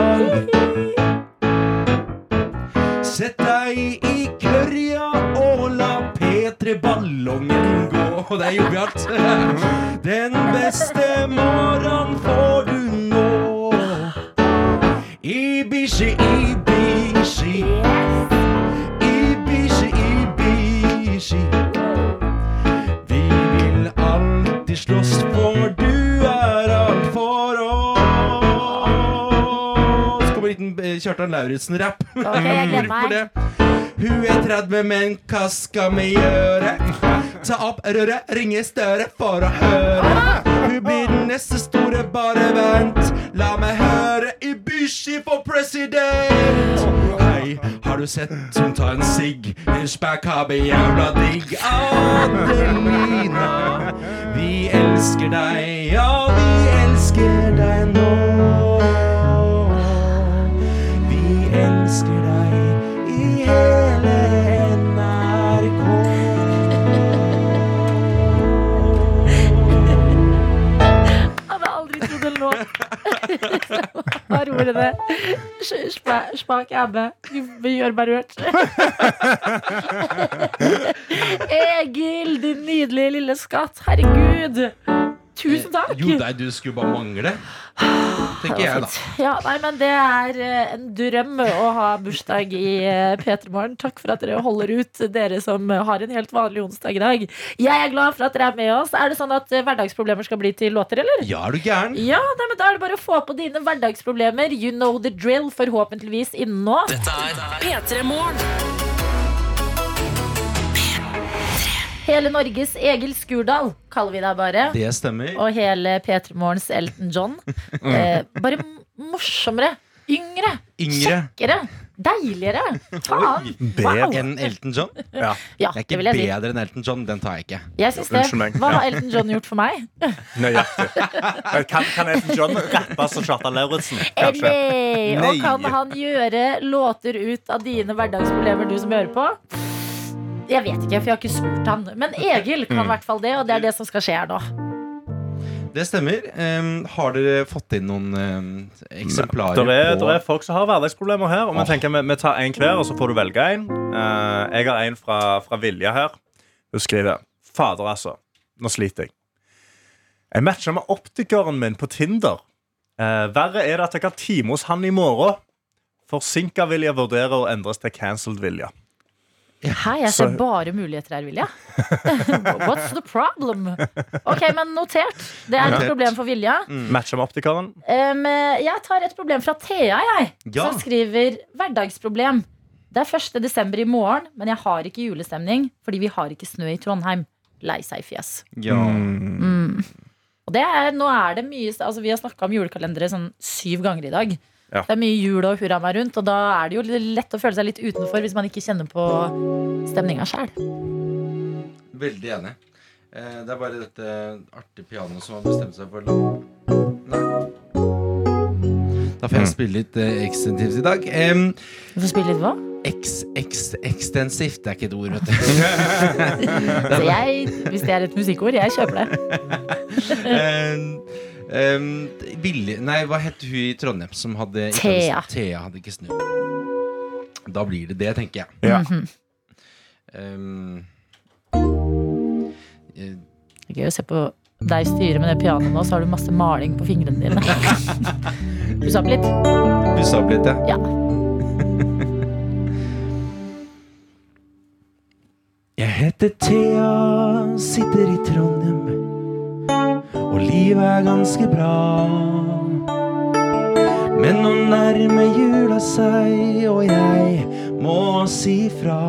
Sett deg i klørja og la P3-ballongen gå. Og det er jovialt. *laughs* Den beste morgen får du nå. Ibishi, Ibishi. Ibishi, Ibishi. Vi vil alltid slåss, for du er alt for oss. Så kommer en liten eh, Kjartan Lauritzen-rapp. Ok, jeg gleder *laughs* meg. Hun er 30, men hva skal vi gjøre? Ta opp røret, ringe Støre for å høre. Hun blir den neste store, bare vent. La meg høre Ibishi for president. Hei, har du sett hun ta en sigg? Hunchback har vi jævla digg. Adelina, vi elsker deg. Ja, vi elsker deg nå. Vi elsker deg i hele NRK. hadde aldri trodd en låt *laughs* var ordene Sj- spa- Smak æbe, gjør meg rørt. Egil, din nydelige lille skatt. Herregud. Tusen takk. Eh, Ah, Jo, nei, du skulle bare mangle. Tenker jeg, da. Ja, nei, men Det er eh, en drøm å ha bursdag i eh, P3 Morgen. Takk for at dere holder ut, dere som eh, har en helt vanlig onsdag i dag. Jeg er glad for at dere er med oss. Er det sånn at eh, hverdagsproblemer skal bli til låter, eller? Ja, er du gæren? Ja, nei, men Da er det bare å få på dine hverdagsproblemer. You know the drill, forhåpentligvis innen nå. P3 Morgen. Hele Norges Egil Skurdal, kaller vi deg bare. Det stemmer. Og hele P3 Morgens Elton *laughs* John. Eh, bare m- morsommere. Yngre. Yngre. Kjekkere. Deiligere. Faen. Bedre Wow. enn Elton John? Ja, Ja, det er det ikke vil jeg si. bedre enn Elton John. Den tar jeg ikke. Jeg syns det. Hva har Elton John gjort for meg? Nøyaktig. Kan, kan Elton John rappe som Kjartan Lauritzen? Eller, og kan Nei. han gjøre låter ut av dine hverdagsproblemer, du som hører på? Jeg vet ikke, for jeg har ikke spurt han. Men Egil kan i Mm. hvert fall det, og det er det som skal skje her nå. Det stemmer. Em, har dere fått inn noen em, eksemplarer Der er, der er på folk som har hverdagsproblemer her. Og vi Åh. tenker vi, vi tar en hver, og så får du velge en. Eh, jeg har en fra, fra Vilja her. Hun skriver Fader, altså. Nå sliter jeg. Jeg matcha med optikeren min på Tinder. Eh, verre er det at jeg har time hos han i morgen. Forsinka Vilja vurderer å endres til cancelled Vilja. Hei, jeg ser Så- bare muligheter her, Vilja. *laughs* What's the problem? Ok, men notert. Det er et Notert. problem for Vilja. Matcha Mm. med optikeren. Um, jeg tar et problem fra Thea, jeg. Ja. Som skriver 'hverdagsproblem'. Det er 1. desember i morgen, men jeg har ikke julestemning fordi vi har ikke snø i Trondheim. Lei seg fjes. Ja. Mm. Og det er, nå er det mye altså Vi har snakka om julekalendere sånn syv ganger i dag. Ja. Det er mye jul og hurra meg rundt, og da er det jo litt lett å føle seg litt utenfor hvis man ikke kjenner på stemninga sjæl. Veldig enig. Eh, det er bare dette artige pianoet som har bestemt seg for å la- Nei. Da får jeg spille litt eh, ekstensivt i dag. Em, Du får spille litt hva? eks, eks, ekstensivt det er ikke et ord, vet du. Det *laughs* *laughs* Så er bare- jeg, hvis det er et musikkord, jeg kjøper det. Em, em, Billy- Nei, hva het hun i Trondheim som hadde ikke Thea. hadde- Thea hadde ikke snu. Da blir det det, tenker jeg. Mhm. Em, eh, Det er gøy å se på deg styre med det pianoet nå, så har du masse maling på fingrene dine. *laughs* Puss opp litt. Pusse opp litt, ja. Jeg heter Thea, sitter i Trondheim, og livet er ganske bra. Men nå nærmer jula seg, og jeg må si fra.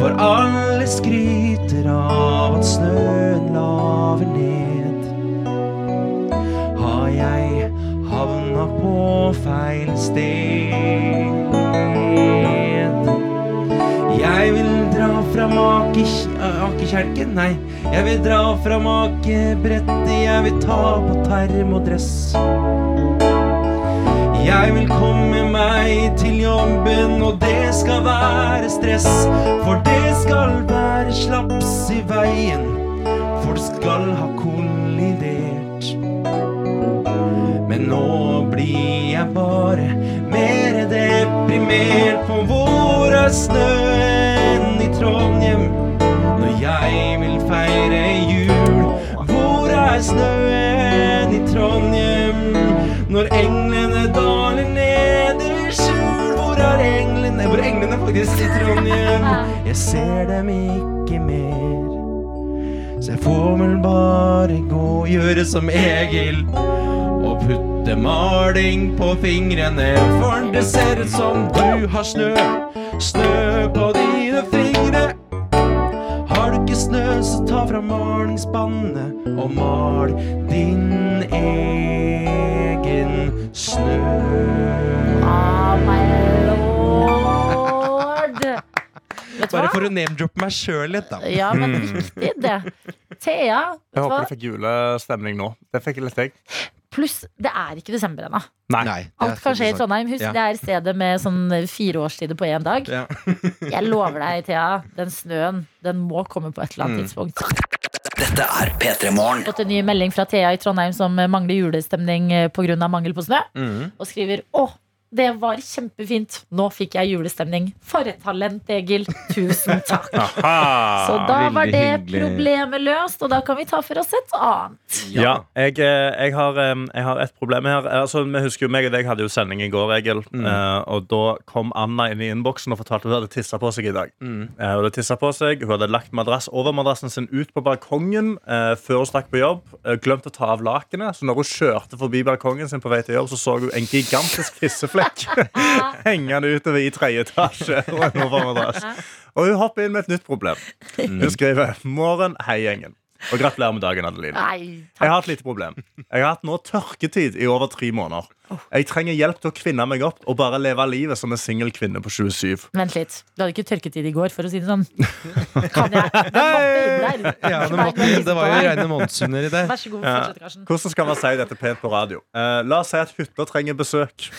For alle skryter av at snøen laver ned. Har jeg havna på feil sted? Jeg vil dra fra make... Akekjelken? Nei. Jeg vil dra fra makebrettet. Jeg vil ta på termodress. Jeg vil komme meg til jobben og og det skal være stress. For det skal være slaps i veien. Folk skal ha kollidert. Men nå blir jeg bare mer deprimert på hvor er snøen i Trondheim når jeg vil feire jul? Hvor er snøen i Trondheim når englene daler ned i skjul? Hvor er englene? Hvor er englene faktisk i Trondheim? Jeg ser dem ikke mer. Så jeg får vel bare gå og gjøre som Egil og putte maling på fingrene. For det ser ut som du har snø, snø på dine fingre. Har du ikke snø, så ta fra malingsspannet og mal din egen snø. Bare for å name-droppe meg sjøl litt, da. Ja, men Mm. riktig det. Thea, Jeg vet du hva? håper du fikk julestemning nå. Det fikk litt jeg. Pluss, det er ikke desember ennå. Nei. Alt kan skje i Trondheim. Husk, det er stedet med sånn fire årstider på én dag. Jeg lover deg, Thea, den snøen den må komme på et eller annet Mm. tidspunkt. Dette er P3 Jeg Morgen. har fått en ny melding fra Thea i Trondheim som mangler julestemning pga. mangel på snø. Mhm. Og skriver å, det var kjempefint. Nå fikk jeg julestemning. For et talent, Egil. Tusen takk. Så Ah, da var det problemet løst, og da kan vi ta for oss et annet. Ja, jeg, eh, jeg, har, eh, jeg har et problem her. Altså, vi husker jo meg og deg hadde jo sending i går, Egil. Eh, og da kom Anna inn i innboksen og fortalte at hun hadde tissa på seg i dag. Eh, hun hadde tisset på seg, hun hadde lagt madrass over madrassen sin ut på balkongen eh, før hun stakk på jobb. Eh, glemt å ta av lakenet, så når hun kjørte forbi balkongen sin på vei til jobb, så så hun en gigantisk tisseflekk *laughs* hengende utover i tredje etasje. *laughs* Over madrass. Og hun hopper inn med et nytt problem. Hun skriver 'Morgen, hei, gjengen'. Og gratulerer med dagen, Adeline. Nei, Jeg har et lite problem. Jeg har hatt nå tørketid i over tre måneder. Jeg trenger hjelp til å kvinne meg opp og bare leve livet som en singel kvinne på 27. Vent litt. Du hadde ikke tørketid i går, for å si det *laughs* sånn. Kan jeg? Den var inn der. Ja, det, måtte, det var jo reine monsuner i det. Vær så god, Ja. fortsett, Karsten. Hvordan skal man si dette pent på radio? Eh, la oss si at hytta trenger besøk.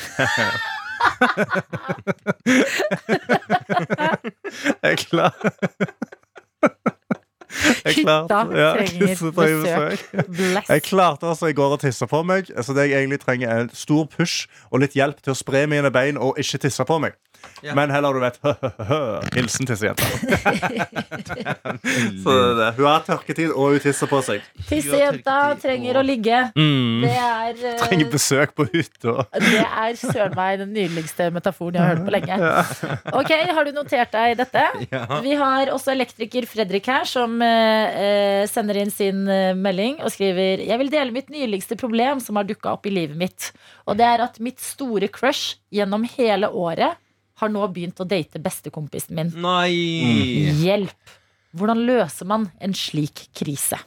*laughs* Jeg er klar. Jeg klarte, Hytta ja, trenger hytta besøk. Bless. Jeg klarte altså i går å tisse på meg, så det jeg egentlig trenger, er en stor push og litt hjelp til å spre mine bein og ikke tisse på meg. Ja. Men heller, du vet *laughs* Hilsen tissejenta. Så det er det. Hun har tørketid, og hun tisser på seg. Tissejenta trenger å ligge. Mm. Det er eh, Trenger besøk på hytta. Det er søren meg den nydeligste metaforen jeg har hørt på lenge. Ok, Har du notert deg dette? Ja. Vi har også elektriker Fredrik her, som eh, eh, sender inn sin eh, melding og skriver Jeg vil dele mitt nyligste problem som har dukka opp i livet mitt. Og det er at mitt store crush gjennom hele året har nå begynt å date bestekompisen min. Mm, Nei. Hjelp! Hvordan løser man en slik krise?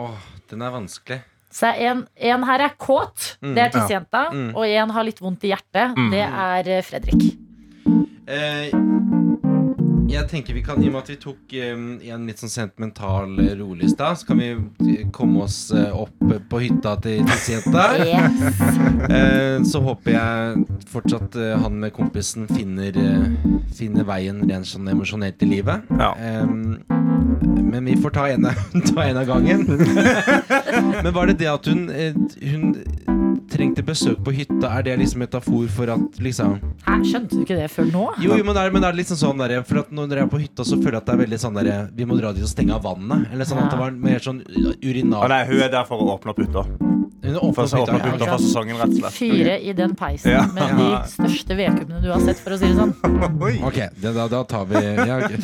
Åh, den er vanskelig. Så er en, en her er kåt, det er Mm, ja. tissejenta. Mm. Og en har litt vondt i hjertet, Mm. det er eh, Fredrik. Eh, jeg tenker vi kan, I og med at vi tok eh, en litt sånn sentimental eh, rolig i stad, så kan vi eh, komme oss eh, opp på hytta til *laughs* tissejenta. eh, så håper jeg fortsatt eh, han med kompisen finner, eh, finner veien rent sånn emosjonelt i livet. Eh, men vi får ta en, av- *laughs* ta en av gangen. *laughs* men var det det at hun, eh, hun trengte besøk på hytta, er det liksom metafor for at liksom Hæ, skjønte du ikke det før nå? jo, jo, men det er, men det er liksom sånn der, For at når jeg er på hytta, så føler jeg at det er veldig sånn der Vi må dra dit og stenge av vannet. Eller sånn at det var mer sånn urinal Å nei, hun er der for å åpne opp hytta. Hun åpner For å åpne opp hytta for sesongen, rett og slett. Fyre i den peisen Ja. med de største vedkubbene du har sett, for å si det sånn. Ok, det, da, da tar vi ja, ok.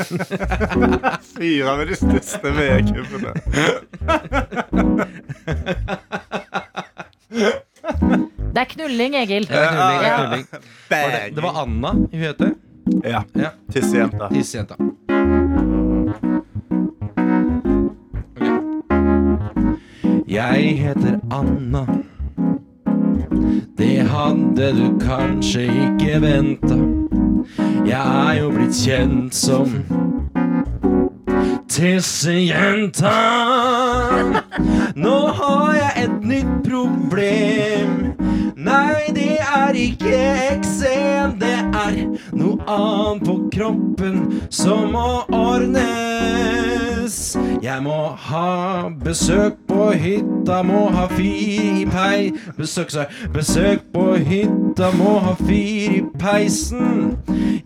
Fyre med de største vedkubbene. Det er knulling, Egil. Ja, knulling, ja, Ja. knulling. Var det, det var Anna hun heter? Ja. Tissejenta. Tissejenta. Ok. Jeg heter Anna. Det hadde du kanskje ikke venta. Jeg er jo blitt kjent som Tissejenta. Nå har jeg et nytt problem. Nei, det er ikke eksem, det noe annet på kroppen som må ordnes. Jeg må ha besøk på hytta, må ha fyr i pei... Besøk, sa jeg. Besøk på hytta, må ha fyr i peisen.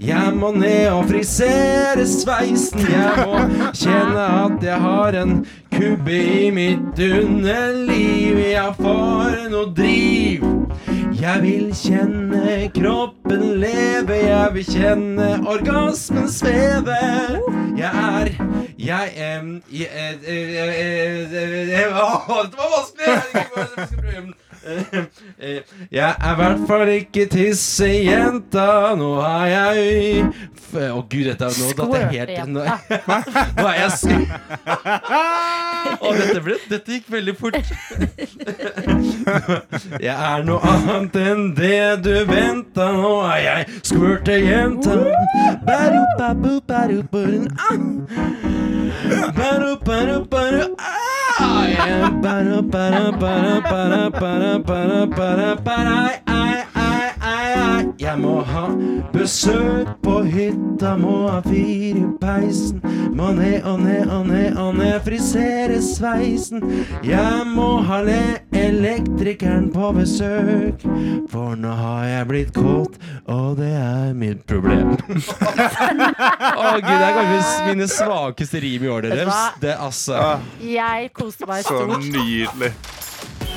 Jeg må ned og frisere sveisen. Jeg må kjenne at jeg har en kubbe i mitt underliv. Jeg får noe driv. Jeg vil kjenne kroppen leve, jeg vil kjenne orgasmen sveve. Jeg er Jeg em, jeg, eh, eh, eh, eh, eh, Åh, Dette var vanskelig! Jeg vet ikke hva jeg skal prøve. Eh, *laughs* Jeg er i hvert fall ikke tissejenta. Nå har jeg f- Å, gud, dette er nå datt jeg helt nå, *laughs* nå er jeg syk. Å, dette, ble, dette gikk veldig fort. Jeg er noe annet enn det du venta. Nå er jeg skvørtejenta. Baru, babu, baru, burun, ah. Baru, baru, baru, ah. Yeah, baru, baru, baru, baru, baru, baru, baru, baru, ai, ai, ai, ai. Jeg må ha besøk på hytta, må ha fyr i peisen. Må ned og ned og ned og ned, frisere sveisen. Jeg må ha le elektrikeren på besøk, for nå har jeg blitt kåt, og det er mitt problem. Å gud, det er kanskje mine svakeste rim i år, Vet du dere. hva? Det, altså. Jeg koste meg Så stort. Nydelig. P3 Morgen.